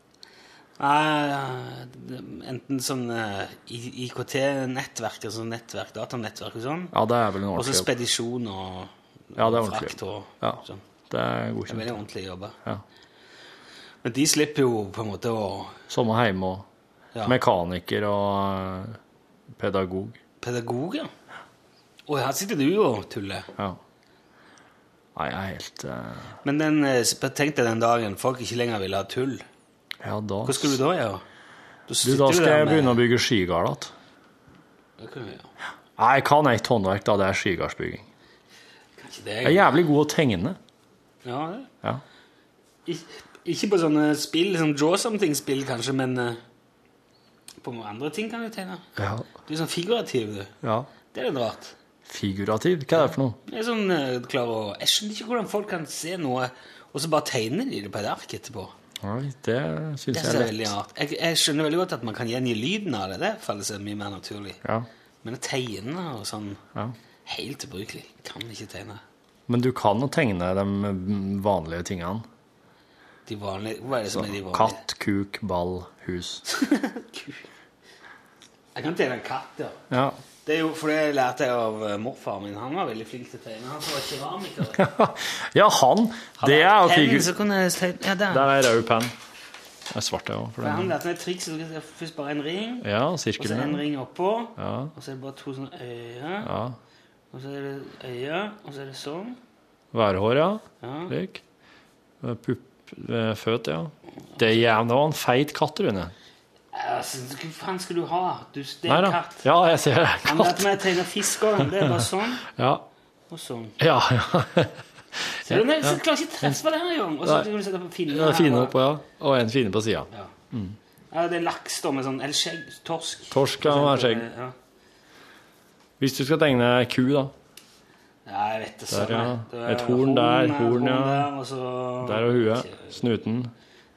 Speaker 4: Nei, eh, enten sånn eh, I- IKT-nettverk, altså nettverk, datanettverk og sånn,
Speaker 1: Ja, det er vel en
Speaker 4: og så
Speaker 1: ordentlig jobb.
Speaker 4: spedisjon og
Speaker 1: Ja, det er ordentlig
Speaker 4: frakt og
Speaker 1: Ja,
Speaker 4: sånn.
Speaker 1: det er
Speaker 4: Det er
Speaker 1: godkjent.
Speaker 4: veldig ordentlige jobber.
Speaker 1: Ja.
Speaker 4: Men de slipper jo på en måte å
Speaker 1: Samme hjemme og
Speaker 4: ja.
Speaker 1: mekaniker og eh, pedagog.
Speaker 4: Pedagog, ja. Og her sitter du og tuller.
Speaker 1: Ja. Nei, jeg er helt eh,
Speaker 4: Men den, eh, sp- tenk deg den dagen folk ikke lenger vil ha tull.
Speaker 1: Ja, da
Speaker 4: Hva skal du da gjøre?
Speaker 1: Du, da skal jeg begynne å bygge skigard igjen.
Speaker 4: Kanskje
Speaker 1: Nei, jeg kan ett håndverk, da. Det er skigardsbygging.
Speaker 4: det.
Speaker 1: Jeg er jævlig god å tegne.
Speaker 4: Ja, det.
Speaker 1: Ja.
Speaker 4: Ik- Ikke på sånne spill, sånn draw something-spill kanskje, men eh, på noen andre ting kan du tegne.
Speaker 1: Ja.
Speaker 4: Du er sånn figurativ, du.
Speaker 1: ja.
Speaker 4: Det er litt rart.
Speaker 1: Figurativ? Hva er det for noe?
Speaker 4: Jeg, er sånn, eh, klar å, jeg skjønner ikke hvordan folk kan se noe, og så bare tegner de det på et ark etterpå.
Speaker 1: Nei, det syns
Speaker 4: Det
Speaker 1: jeg
Speaker 4: ser
Speaker 1: er
Speaker 4: veldig
Speaker 1: lett.
Speaker 4: rart. Jeg, jeg skjønner veldig godt at man kan gjengi lyden av det. Det faller seg mye mer naturlig.
Speaker 1: Ja.
Speaker 4: Men å tegne og sånn
Speaker 1: ja.
Speaker 4: Helt ubrukelig. Kan ikke tegne.
Speaker 1: Men du kan å tegne de mm, vanlige tingene.
Speaker 4: De vanlige Hva er det som er de vanlige?
Speaker 1: Katt, kuk, ball, hus.
Speaker 4: Jeg kan tegne en katt, ja.
Speaker 1: Ja.
Speaker 4: Det er jo for det lærte jeg av eh, morfar min. Han var veldig flink til å tegne. Han var keramiker.
Speaker 1: ja, han. Det er jo
Speaker 4: Penn,
Speaker 1: figur...
Speaker 4: så kunne jeg tegne. Ja, der.
Speaker 1: Der er rød penn. Det er svart, det òg. for
Speaker 4: For han
Speaker 1: den-
Speaker 4: lærte meg et triks. så skal jeg Først bare en ring,
Speaker 1: Ja,
Speaker 4: og så en
Speaker 1: sirkelen.
Speaker 4: ring oppå.
Speaker 1: Ja.
Speaker 4: Og så er det bare to sånne øyne.
Speaker 1: ja.
Speaker 4: Og så er det øyne, og så er det sånn.
Speaker 1: Værhår, ja.
Speaker 4: Ja.
Speaker 1: Lik. Eh, Pupp eh, Føt, ja. Det er jævlig, det var en feit katt, Rune.
Speaker 4: Altså, hva faen skal du ha? Du, det
Speaker 1: Nei
Speaker 4: er en
Speaker 1: da.
Speaker 4: katt.
Speaker 1: Ja, jeg ser det.
Speaker 4: Han
Speaker 1: Katt.
Speaker 4: lærte meg å tegne fisk òg. Det er bare sånn
Speaker 1: Ja.
Speaker 4: og sånn.
Speaker 1: Ja, ja.
Speaker 4: Så du nei, så du klarer ikke å treffe det her engang. Og så
Speaker 1: Nei.
Speaker 4: kan du sette på finne.
Speaker 1: Det er
Speaker 4: her,
Speaker 1: Fine
Speaker 4: og-
Speaker 1: oppå, ja. Og en fine på sida.
Speaker 4: Ja. ja, det er laks da med sånn Eller skjegg. Torsk.
Speaker 1: Torsk kan være skjegg.
Speaker 4: Ja.
Speaker 1: Hvis du skal tegne ku, da.
Speaker 4: Ja, jeg vet det.
Speaker 1: Der,
Speaker 4: sånn,
Speaker 1: ja.
Speaker 4: jeg. Det er
Speaker 1: Et horn der, horn, ja.
Speaker 4: der, og så-
Speaker 1: Der og huet. Snuten.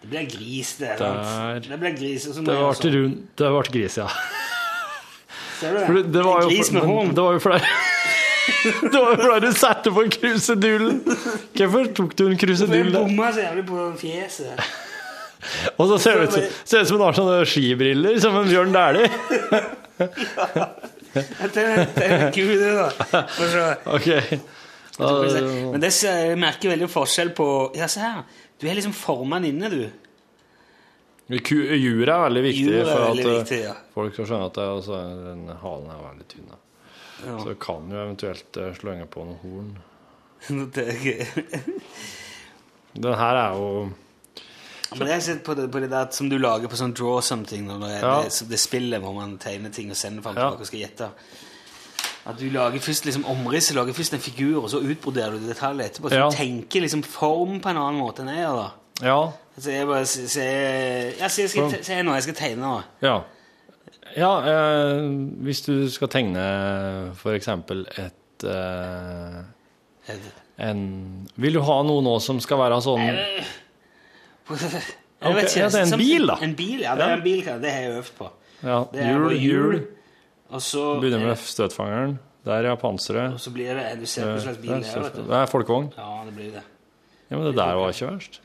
Speaker 4: Det blir gris, det.
Speaker 1: Der.
Speaker 4: sant? Det blir gris, og så må
Speaker 1: Det
Speaker 4: jeg
Speaker 1: ble
Speaker 4: også-
Speaker 1: rund. Det ble gris, ja.
Speaker 4: Ser du det?
Speaker 1: For det, det var jo
Speaker 4: gris med
Speaker 1: men
Speaker 4: horn.
Speaker 1: Det var jo flere Det var jo flere du satte på krusedullen. Hvorfor tok du en krusedull?
Speaker 4: Jeg
Speaker 1: der?
Speaker 4: bomma så jævlig på fjeset.
Speaker 1: Og så ser det ut som, ser det ut som hun har sånne skibriller, som en Bjørn Dæhlie.
Speaker 4: Det er- det er kul, det, da. Og så-
Speaker 1: Ok. Da,
Speaker 4: Men det ser, jeg merker veldig forskjell på Ja, se her. Du er liksom formann inne, du.
Speaker 1: Eh, ku- Jura er veldig viktig
Speaker 4: Jura er
Speaker 1: for at
Speaker 4: veldig
Speaker 1: eh,
Speaker 4: viktig, ja.
Speaker 1: folk skal skjønne at det, også er- den halen er veldig tynn. da. Så du kan jo eventuelt eh, slenge på noen horn.
Speaker 4: Det er ikke-
Speaker 1: Den her er jo
Speaker 4: Men jeg har sett på det, på det der som du lager på sånn draw something, når det,
Speaker 1: Ja.
Speaker 4: det, det spillet hvor man tegner ting og sender fram
Speaker 1: Ja.
Speaker 4: tilbake og skal gjette. At du lager først liksom omrisset, lager først en figur, og så utbroderer du detaljer etterpå. Så
Speaker 1: Ja.
Speaker 4: du tenker liksom form på en annen måte enn jeg gjør, da.
Speaker 1: Ja.
Speaker 4: Så jeg bare se, se, ja, se, jeg skal, te- se nå, jeg skal tegne nå.
Speaker 1: Ja. ja eh, hvis du skal tegne for eksempel et eh, en Vil du ha noe nå som skal være sånn
Speaker 4: Jeg vet
Speaker 1: Ok, ja, det er en
Speaker 4: som-
Speaker 1: bil, da.
Speaker 4: En bil, ja, det er
Speaker 1: Ja.
Speaker 4: en bil, ja, det har jeg øvd på.
Speaker 1: ja,
Speaker 4: Det er
Speaker 1: Hjul,
Speaker 4: bare
Speaker 1: hjul.
Speaker 4: Og så, eh,
Speaker 1: Begynner med støtfangeren. Der, ja. Panseret.
Speaker 4: og så blir det Du ser hva slags bil
Speaker 1: Der,
Speaker 4: det er, vet
Speaker 1: støtfangeren.
Speaker 4: du.
Speaker 1: Det er folkevogn.
Speaker 4: Ja, det blir det.
Speaker 1: Ja, men det der var ikke verst.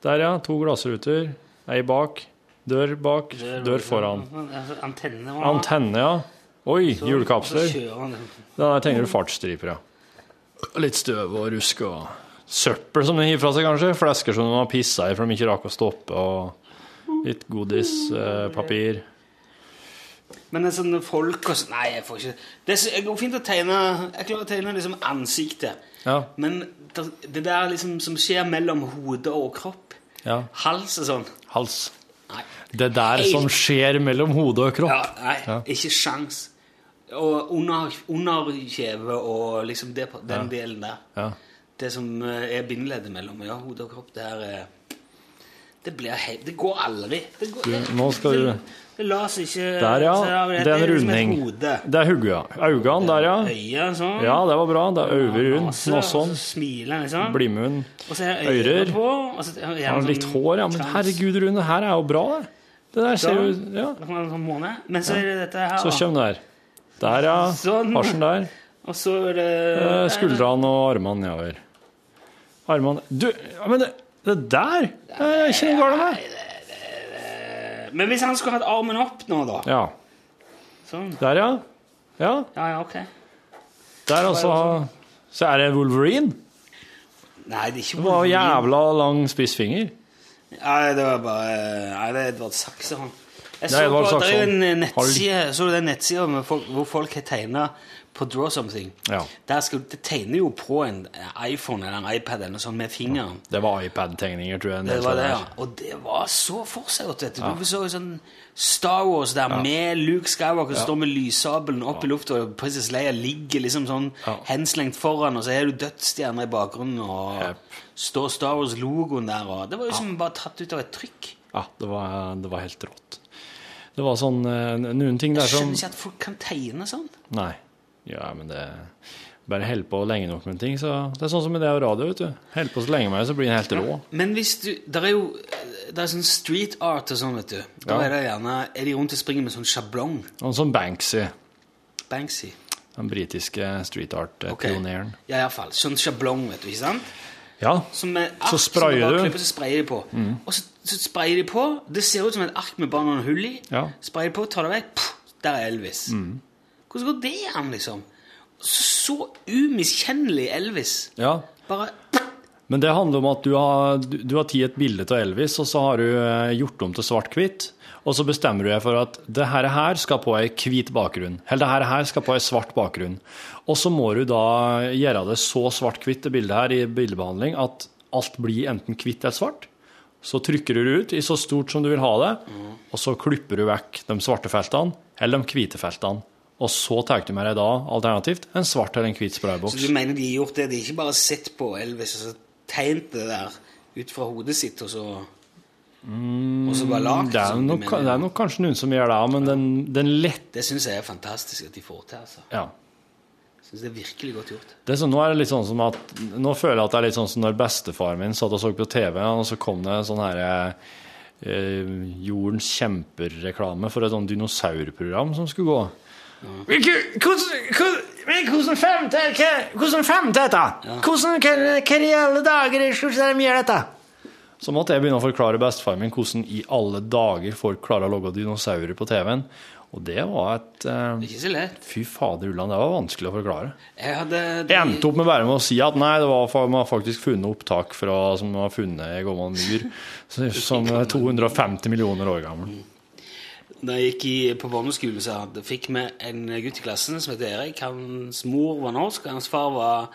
Speaker 1: Der, ja. To glassruter. Ei bak. Dør bak. Dør foran.
Speaker 4: Altså, Antenne. og-
Speaker 1: Antenne, ja. Oi,
Speaker 4: så-
Speaker 1: hjulkapsler.
Speaker 4: så kjører han.
Speaker 1: Den der tegner du fartsstriper, ja. Litt støv og rusk og søppel som de hiver fra seg, kanskje. Flesker som de har pissa i for de ikke rakk å stoppe, og litt eh, godispapir.
Speaker 4: Men det er sånne folk og sånn Nei, jeg får ikke Det er så, jeg går fint å tegne Jeg klarer å tegne liksom ansiktet.
Speaker 1: ja.
Speaker 4: Men det, det der liksom som skjer mellom hode og kropp,
Speaker 1: ja.
Speaker 4: hals og sånn
Speaker 1: Hals.
Speaker 4: Nei.
Speaker 1: Det der som skjer mellom hode og
Speaker 4: Ja,
Speaker 1: kropp.
Speaker 4: nei
Speaker 1: Ja.
Speaker 4: Ikke sjans. Og under- underkjeve og liksom det, på- den delen der.
Speaker 1: Ja.
Speaker 4: Det som eh, er bindeleddet mellom ja, hode og kropp, det er eh, Det blir hei... Det går aldri. Det går,
Speaker 1: Du, nå skal du-
Speaker 4: Det, det lar seg ikke
Speaker 1: Der,
Speaker 4: så
Speaker 1: ja. Det er en
Speaker 4: liksom et
Speaker 1: runding.
Speaker 4: hode.
Speaker 1: Det er hodet, ja. Øynene der, ja.
Speaker 4: Øya sånn.
Speaker 1: Ja, det var bra. Det er over rund.
Speaker 4: Nase, og så
Speaker 1: Nåsånn.
Speaker 4: smiler han, liksom.
Speaker 1: Blimund.
Speaker 4: Og så er
Speaker 1: ører.
Speaker 4: ører på. Og så er
Speaker 1: Han har litt hår, ja. Men herregud, Rune, det her er jo bra, det. Det der ser jo Ja.
Speaker 4: Sånn måne. Men så er det dette her,
Speaker 1: Så
Speaker 4: da.
Speaker 1: kommer der. Der, ja.
Speaker 4: Sånn.
Speaker 1: Farsen der.
Speaker 4: Og så er det
Speaker 1: Eh, Skuldrene og armene nedover. Armene Du, ja, men det, det der er ikke noe galt med.
Speaker 4: Men hvis han skulle hatt armen opp nå, da
Speaker 1: Ja.
Speaker 4: Sånn.
Speaker 1: Der, ja. Ja.
Speaker 4: Ja, ja, ok.
Speaker 1: Der altså Så er det Wolverine.
Speaker 4: Nei, det er ikke
Speaker 1: Det var jo jævla lang spiss finger.
Speaker 4: Nei, det var bare Nei, det er Edvard Saxe, han. Jeg
Speaker 1: Det er
Speaker 4: så
Speaker 1: Edvard
Speaker 4: på, det er
Speaker 1: Saxe,
Speaker 4: jo en eh,
Speaker 1: han.
Speaker 4: nettside, så du den nettsida med folk, hvor folk har tegna på Draw Something?
Speaker 1: Ja.
Speaker 4: Der skal, du- det tegner jo på en iPhone eller en iPad eller noe sånt med fingeren.
Speaker 1: Det var iPad-tegninger, tror jeg. en del
Speaker 4: Det var
Speaker 1: av
Speaker 4: det,
Speaker 1: her.
Speaker 4: ja. Og det var så forseggjort, vet du. Du så jo sånn Star Wars der med Luke Skywalker som står med lyssabelen opp i lufta, og Princess Leia ligger liksom sånn
Speaker 1: Ja.
Speaker 4: henslengt foran, og så er du dødsstjerner i bakgrunnen, og
Speaker 1: Jep.
Speaker 4: står Star Wars-logoen der, og Det var jo som bare tatt ut av et trykk.
Speaker 1: Ja, det var, det var helt rått. Det var sånn eh, Noen ting der
Speaker 4: Jeg
Speaker 1: som
Speaker 4: skjønner ikke at folk kan tegne sånn.
Speaker 1: Nei. Ja, men det Bare held på lenge nok med en ting, så Det er sånn som med det og radio, vet du. Held på så lenge med det, så blir den helt rå.
Speaker 4: Men hvis du Der er jo der er sånn street art og sånn, vet du.
Speaker 1: Ja.
Speaker 4: Da er det gjerne Er de rundt og springer med sånn sjablong?
Speaker 1: Og sånn Banksy,
Speaker 4: Banksy.
Speaker 1: den britiske street eh,
Speaker 4: Ok.
Speaker 1: art-pioneren.
Speaker 4: Ja, iallfall. Sånn sjablong, vet du. Ikke sant?
Speaker 1: Ja.
Speaker 4: Som er ark,
Speaker 1: Så sprayer
Speaker 4: som
Speaker 1: du.
Speaker 4: du.
Speaker 1: Mm.
Speaker 4: Bare klipper, så sprayer de på. Og så, så sprayer de på. Det ser ut som et ark med bare noen hull i.
Speaker 1: Ja. Mm.
Speaker 4: Sprayer de på, tar det vekk. Pff, der er Elvis. Hvordan går det an, liksom? Så, så umiskjennelig Elvis.
Speaker 1: ja.
Speaker 4: Bare
Speaker 1: Men det handler om at du har, du, du har tatt et bilde av Elvis, og så har du eh, gjort om til svart-hvitt. Og så bestemmer du deg for at det her, her skal på ei hvit bakgrunn. Eller det her, her skal på ei svart bakgrunn. Og så må du da gjøre det så svart-hvitt, det bildet her, i bildebehandling at alt blir enten hvitt eller svart. Så trykker du det ut i så stort som du vil ha det, og så klipper du vekk de svarte feltene eller de hvite feltene. Og så tar du med deg da, alternativt, en svart eller en hvit
Speaker 4: Så
Speaker 1: sprayboks.
Speaker 4: altså, du mener de har gjort det? De har ikke bare sett på Elvis og så tegnet det der ut fra hodet sitt, og så Og så bare lagd
Speaker 1: Mm, Det er,
Speaker 4: sånn, du
Speaker 1: nok,
Speaker 4: mener.
Speaker 1: det er nok kanskje noen som gjør det, men den, den lett...
Speaker 4: Det syns jeg er fantastisk at de får til, altså.
Speaker 1: Ja.
Speaker 4: Jeg synes det er virkelig godt gjort.
Speaker 1: Det er sånn, nå er det litt sånn som at... Nå føler jeg at det er litt sånn som når bestefaren min satt og så på TV, og så kom det sånn her... Eh, jordens kjemper-reklame for et sånn dinosaurprogram som skulle gå.
Speaker 7: Men hvordan femte Hvordan femte dette? Hvordan, hva, hva i alle dager skal de gjøre dette?
Speaker 1: Så måtte jeg begynne å forklare bestefaren min hvordan i alle dager folk klarer å logge dinosaurer på TV-en. Og det var et...
Speaker 4: Det
Speaker 1: Eh,
Speaker 4: er ikke så lett.
Speaker 1: fy fader, Ulland, det var vanskelig å forklare.
Speaker 4: Jeg hadde
Speaker 1: Jeg endte opp med bare med å si at nei, det var, fa- man har faktisk funnet opptak fra, som man har funnet i en gammel myr, så- som er 250 millioner år gammel.
Speaker 4: Da jeg gikk i, på barneskole, så hadde, fikk vi en gutt i klassen som heter Erik. Hans mor var norsk, og hans far var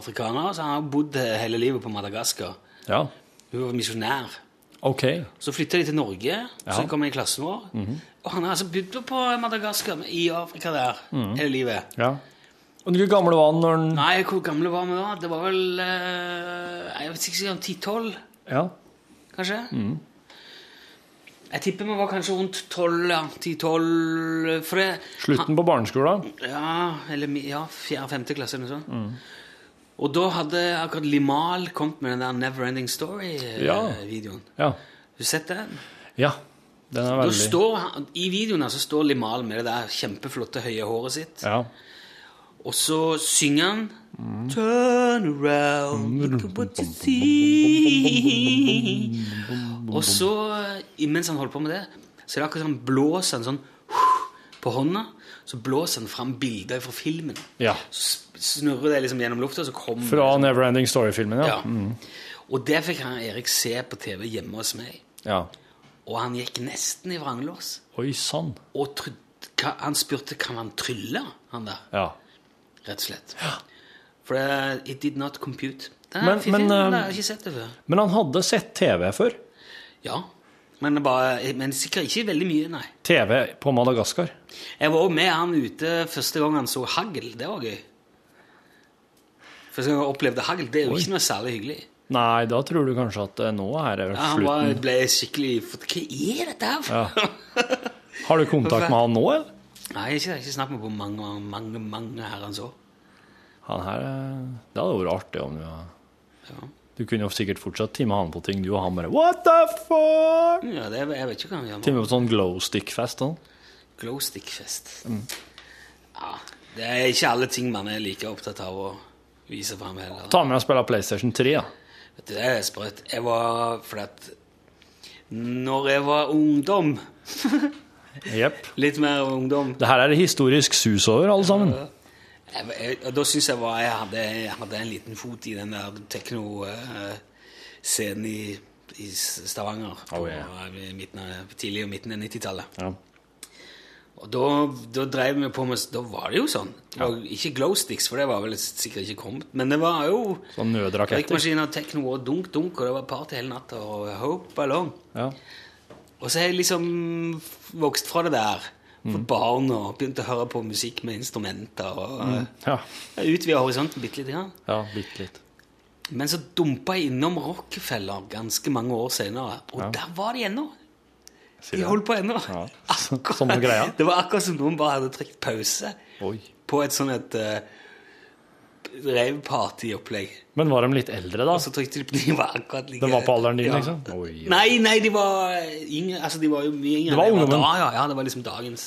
Speaker 4: afrikaner, så han har bodd hele livet på Madagaskar.
Speaker 1: Ja.
Speaker 4: Hun var misjonær.
Speaker 1: OK.
Speaker 4: Så flytta de til Norge, så kom jeg i klassen vår. Og han har altså bodd på Madagaskar, men i Afrika der, hele livet.
Speaker 1: Ja. Og Hvor gammel var han når han
Speaker 4: Nei, hvor gamle var vi da? Det var vel eh, Jeg vet ikke, om 10-12,
Speaker 1: Ja.
Speaker 4: kanskje? Jeg tipper vi var kanskje rundt 12, ja. 10-12 For det
Speaker 1: Slutten på barneskolen?
Speaker 4: Ja, eller mi- ja, fjerde-femte klasse eller noe sånt.
Speaker 1: Mm.
Speaker 4: Og da hadde akkurat Limal kommet med den der Neverending
Speaker 1: Ja.
Speaker 4: Story-videoen.
Speaker 1: Ja.
Speaker 4: eh, Har du sett den?
Speaker 1: ja. Den er
Speaker 4: Da
Speaker 1: veldig
Speaker 4: står, han- I videoen her så står Limal med det der kjempeflotte høye håret sitt,
Speaker 1: Ja.
Speaker 4: og så synger han
Speaker 1: Mm.
Speaker 4: Turn around, look at what you see Og så, mens han holder på med det, så er det akkurat som han blåser en sånn på hånda. Så blåser han fram bilder fra filmen.
Speaker 1: ja.
Speaker 4: Så snurrer det liksom gjennom lufta, så kommer
Speaker 1: Fra Neverending Story-filmen, ja. Mm.
Speaker 4: Ja. Og det fikk han Erik se på TV hjemme hos meg.
Speaker 1: ja.
Speaker 4: Og han gikk nesten i vranglås.
Speaker 1: Oi sann.
Speaker 4: Og trodde, ka- han spurte kan han trylle, han der,
Speaker 1: Ja.
Speaker 4: rett og slett. For det- it did not compute. Det er
Speaker 1: Men-
Speaker 4: en fin
Speaker 1: men,
Speaker 4: film,
Speaker 1: eh,
Speaker 4: det har jeg ikke sett det før.
Speaker 1: Men han hadde sett TV før.
Speaker 4: Ja, men, det bare, men sikkert ikke veldig mye, nei.
Speaker 1: TV på Madagaskar.
Speaker 4: Jeg var også med han ute første gang han så hagl. Det var gøy. Første gang jeg opplevde hagl, det er jo ikke noe særlig hyggelig.
Speaker 1: Nei, da tror du kanskje at eh, nå er det vel
Speaker 4: Ja, han bare
Speaker 1: slutten.
Speaker 4: ble skikkelig Hva er dette her for
Speaker 1: Ja. Har du kontakt med han nå, eller?
Speaker 4: Nei, ikke, ikke snakk med på mange, mange, mange herrens år.
Speaker 1: Han her eh, Det hadde vært artig om du
Speaker 4: Ja.
Speaker 1: Du kunne jo sikkert fortsatt time han på ting, du og han bare What the fuck?
Speaker 4: Ja, det, jeg vet ikke hva han gjør nå.
Speaker 1: Time på sånn glow stick-fest. sånn.
Speaker 4: Glowstick-fest. Ja, det er ikke alle ting man er like opptatt av å vise fram heller.
Speaker 1: Ta med og spille PlayStation 3, da.
Speaker 4: Vet du, det er sprøtt. Jeg var fordi at Når jeg var ungdom,
Speaker 1: Jepp.
Speaker 4: litt mer ungdom
Speaker 1: Det her er det historisk sus over, alle sammen.
Speaker 4: jeg, Eh, jeg, og Da syns jeg var, jeg, hadde, jeg hadde en liten fot i den der tekno-scenen i, i Stavanger på,
Speaker 1: Oh, yeah.
Speaker 4: eh, midten av, tidlig og midten av 90-tallet.
Speaker 1: Ja.
Speaker 4: Og da, da drev vi på med Da var det jo sånn. Det var Ikke glowsticks, for det var vel sikkert ikke kommet. Men det var jo
Speaker 1: Sånn nødraketter.
Speaker 4: røykmaskiner, tekno og dunk-dunk, og det var party hele natta og hope ballong.
Speaker 1: Ja.
Speaker 4: Og så har jeg liksom vokst fra det der.
Speaker 1: Mm.
Speaker 4: For barn og begynt å høre på musikk med instrumenter. og
Speaker 1: Ja.
Speaker 4: Jeg utvida horisonten bitte lite grann.
Speaker 1: ja, bitte litt.
Speaker 4: Men så dumpa jeg innom Rockefeller ganske mange år senere, og der var de ennå. De holdt på ennå.
Speaker 1: Ja.
Speaker 4: Akkurat-
Speaker 1: Samme greia.
Speaker 4: Det var akkurat som noen bare hadde trykt pause
Speaker 1: Oi.
Speaker 4: på et sånn et uh, revpartyopplegg.
Speaker 1: Men var de litt eldre, da?
Speaker 4: Og så trykte de på De var akkurat like
Speaker 1: De var på alderen din, liksom? Oi, oi.
Speaker 4: Nei, nei, de var yngre. Altså, de var jo mye yngre.
Speaker 1: Det var
Speaker 4: enn jeg
Speaker 1: ungdommen.
Speaker 4: Da, ja, ja, det var liksom dagens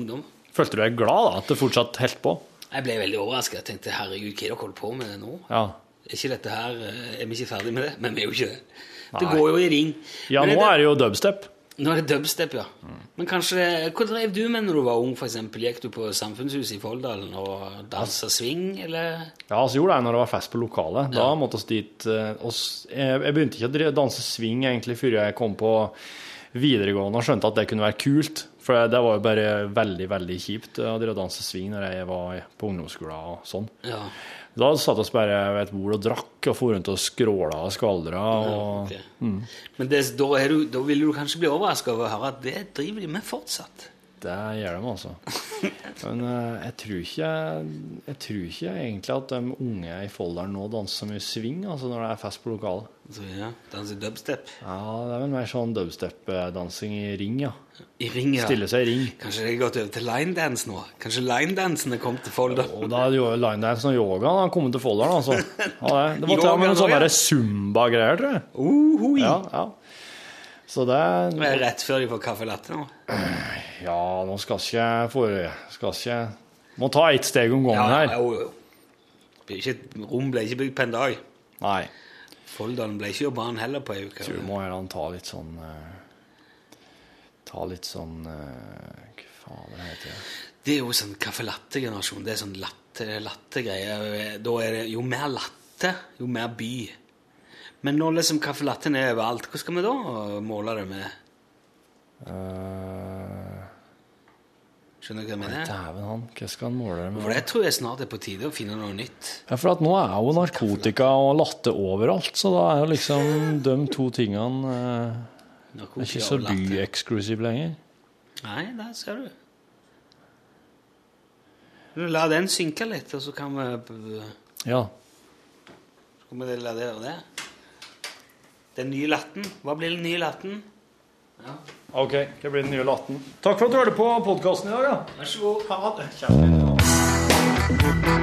Speaker 4: ungdom.
Speaker 1: Følte du deg glad da, at det fortsatt holdt på?
Speaker 4: Jeg ble veldig overraska. Jeg tenkte herregud, hva er det dere holder på med nå?
Speaker 1: Ja.
Speaker 4: Er ikke dette her eh, Er vi ikke ferdig med det? Men vi er jo ikke det. Det
Speaker 1: Nei.
Speaker 4: går jo i ring.
Speaker 1: ja,
Speaker 4: Men
Speaker 1: nå er det jo dubstep.
Speaker 4: Nå er det dubstep, ja. Men kanskje Hva drev du med når du var ung, f.eks.? Gikk du på Samfunnshuset i Folldalen og dansa swing, eller?
Speaker 1: Ja, så gjorde jeg når det var fest på lokalet. Da måtte oss dit eh, oss, jeg, jeg begynte ikke å dri- danse swing egentlig før jeg kom på videregående og skjønte at det kunne være kult. For det var jo bare veldig, veldig kjipt eh, å drive og danse swing når jeg var på ungdomsskolen og sånn.
Speaker 4: Ja.
Speaker 1: Da satt oss bare ved et bord og drakk og for rundt og skråla og skvaldra. Og... mm.
Speaker 4: ok. Men det, da, er du, da vil du kanskje bli overraska over å høre at det driver de med fortsatt.
Speaker 1: Det gjør de, altså. Men eh, jeg, tror ikke, jeg tror ikke egentlig at de unge i Folldalen nå danser så mye swing altså når det er fest på lokalet.
Speaker 4: Så, Altså, ja, Danse dubstep.
Speaker 1: Ja, det er vel mer sånn dubstep-dansing i ring, ja.
Speaker 4: I ring, ja.
Speaker 1: Stille seg i ring.
Speaker 4: Kanskje det er gått over til linedance nå? Kanskje linedansen er kommet til
Speaker 1: Og
Speaker 4: Folldalen?
Speaker 1: da hadde jo linedance og yoga da, kommet til Folldalen, altså. Ja, det, det var til og
Speaker 4: Yoga
Speaker 1: med
Speaker 4: nå,
Speaker 1: noen sånne
Speaker 4: ja.
Speaker 1: der zumba-greier, tror jeg.
Speaker 4: Uhui.
Speaker 1: Ja, ja. Så det
Speaker 4: Det er rett før de får caffè latte nå.
Speaker 1: Ja, nå skal ikke for, Skal ikke Må ta ett steg om gangen her.
Speaker 4: jo, jo. Det blir ikke- Rom ble ikke bygd på en dag.
Speaker 1: Nei.
Speaker 4: Folldalen ble ikke urban heller på ei uke.
Speaker 1: Du må gjerne ta litt sånn eh, Ta litt sånn eh, Hva faen det heter det?
Speaker 4: Det er jo sånn caffè latte-generasjon. Det er sånn latte- latte-greier. da er det jo mer latte, jo mer by. Men nå liksom caffè latten er overalt, hva skal vi da måle det med?
Speaker 1: Eh,
Speaker 4: Skjønner du hva jeg mener?
Speaker 1: Dæven han, hva skal han måle det med?
Speaker 4: For jeg tror jeg snart er på tide å finne noe nytt.
Speaker 1: Ja, for at nå er jo narkotika og latte overalt, så da er jo liksom de to tingene eh,
Speaker 4: Narkotika
Speaker 1: er ikke så
Speaker 4: og latter.
Speaker 1: byeksklusiv lenger.
Speaker 4: Nei, der ser du. Men La den synke litt, og så kan vi, så
Speaker 1: Ja.
Speaker 4: kan vi la det være det. Den nye latten. Hva blir den nye latten? Ja.
Speaker 1: Ok, det blir den nye latten. Takk for at du hørte på podkasten i dag, da.
Speaker 4: Vær så god.
Speaker 1: Ha det.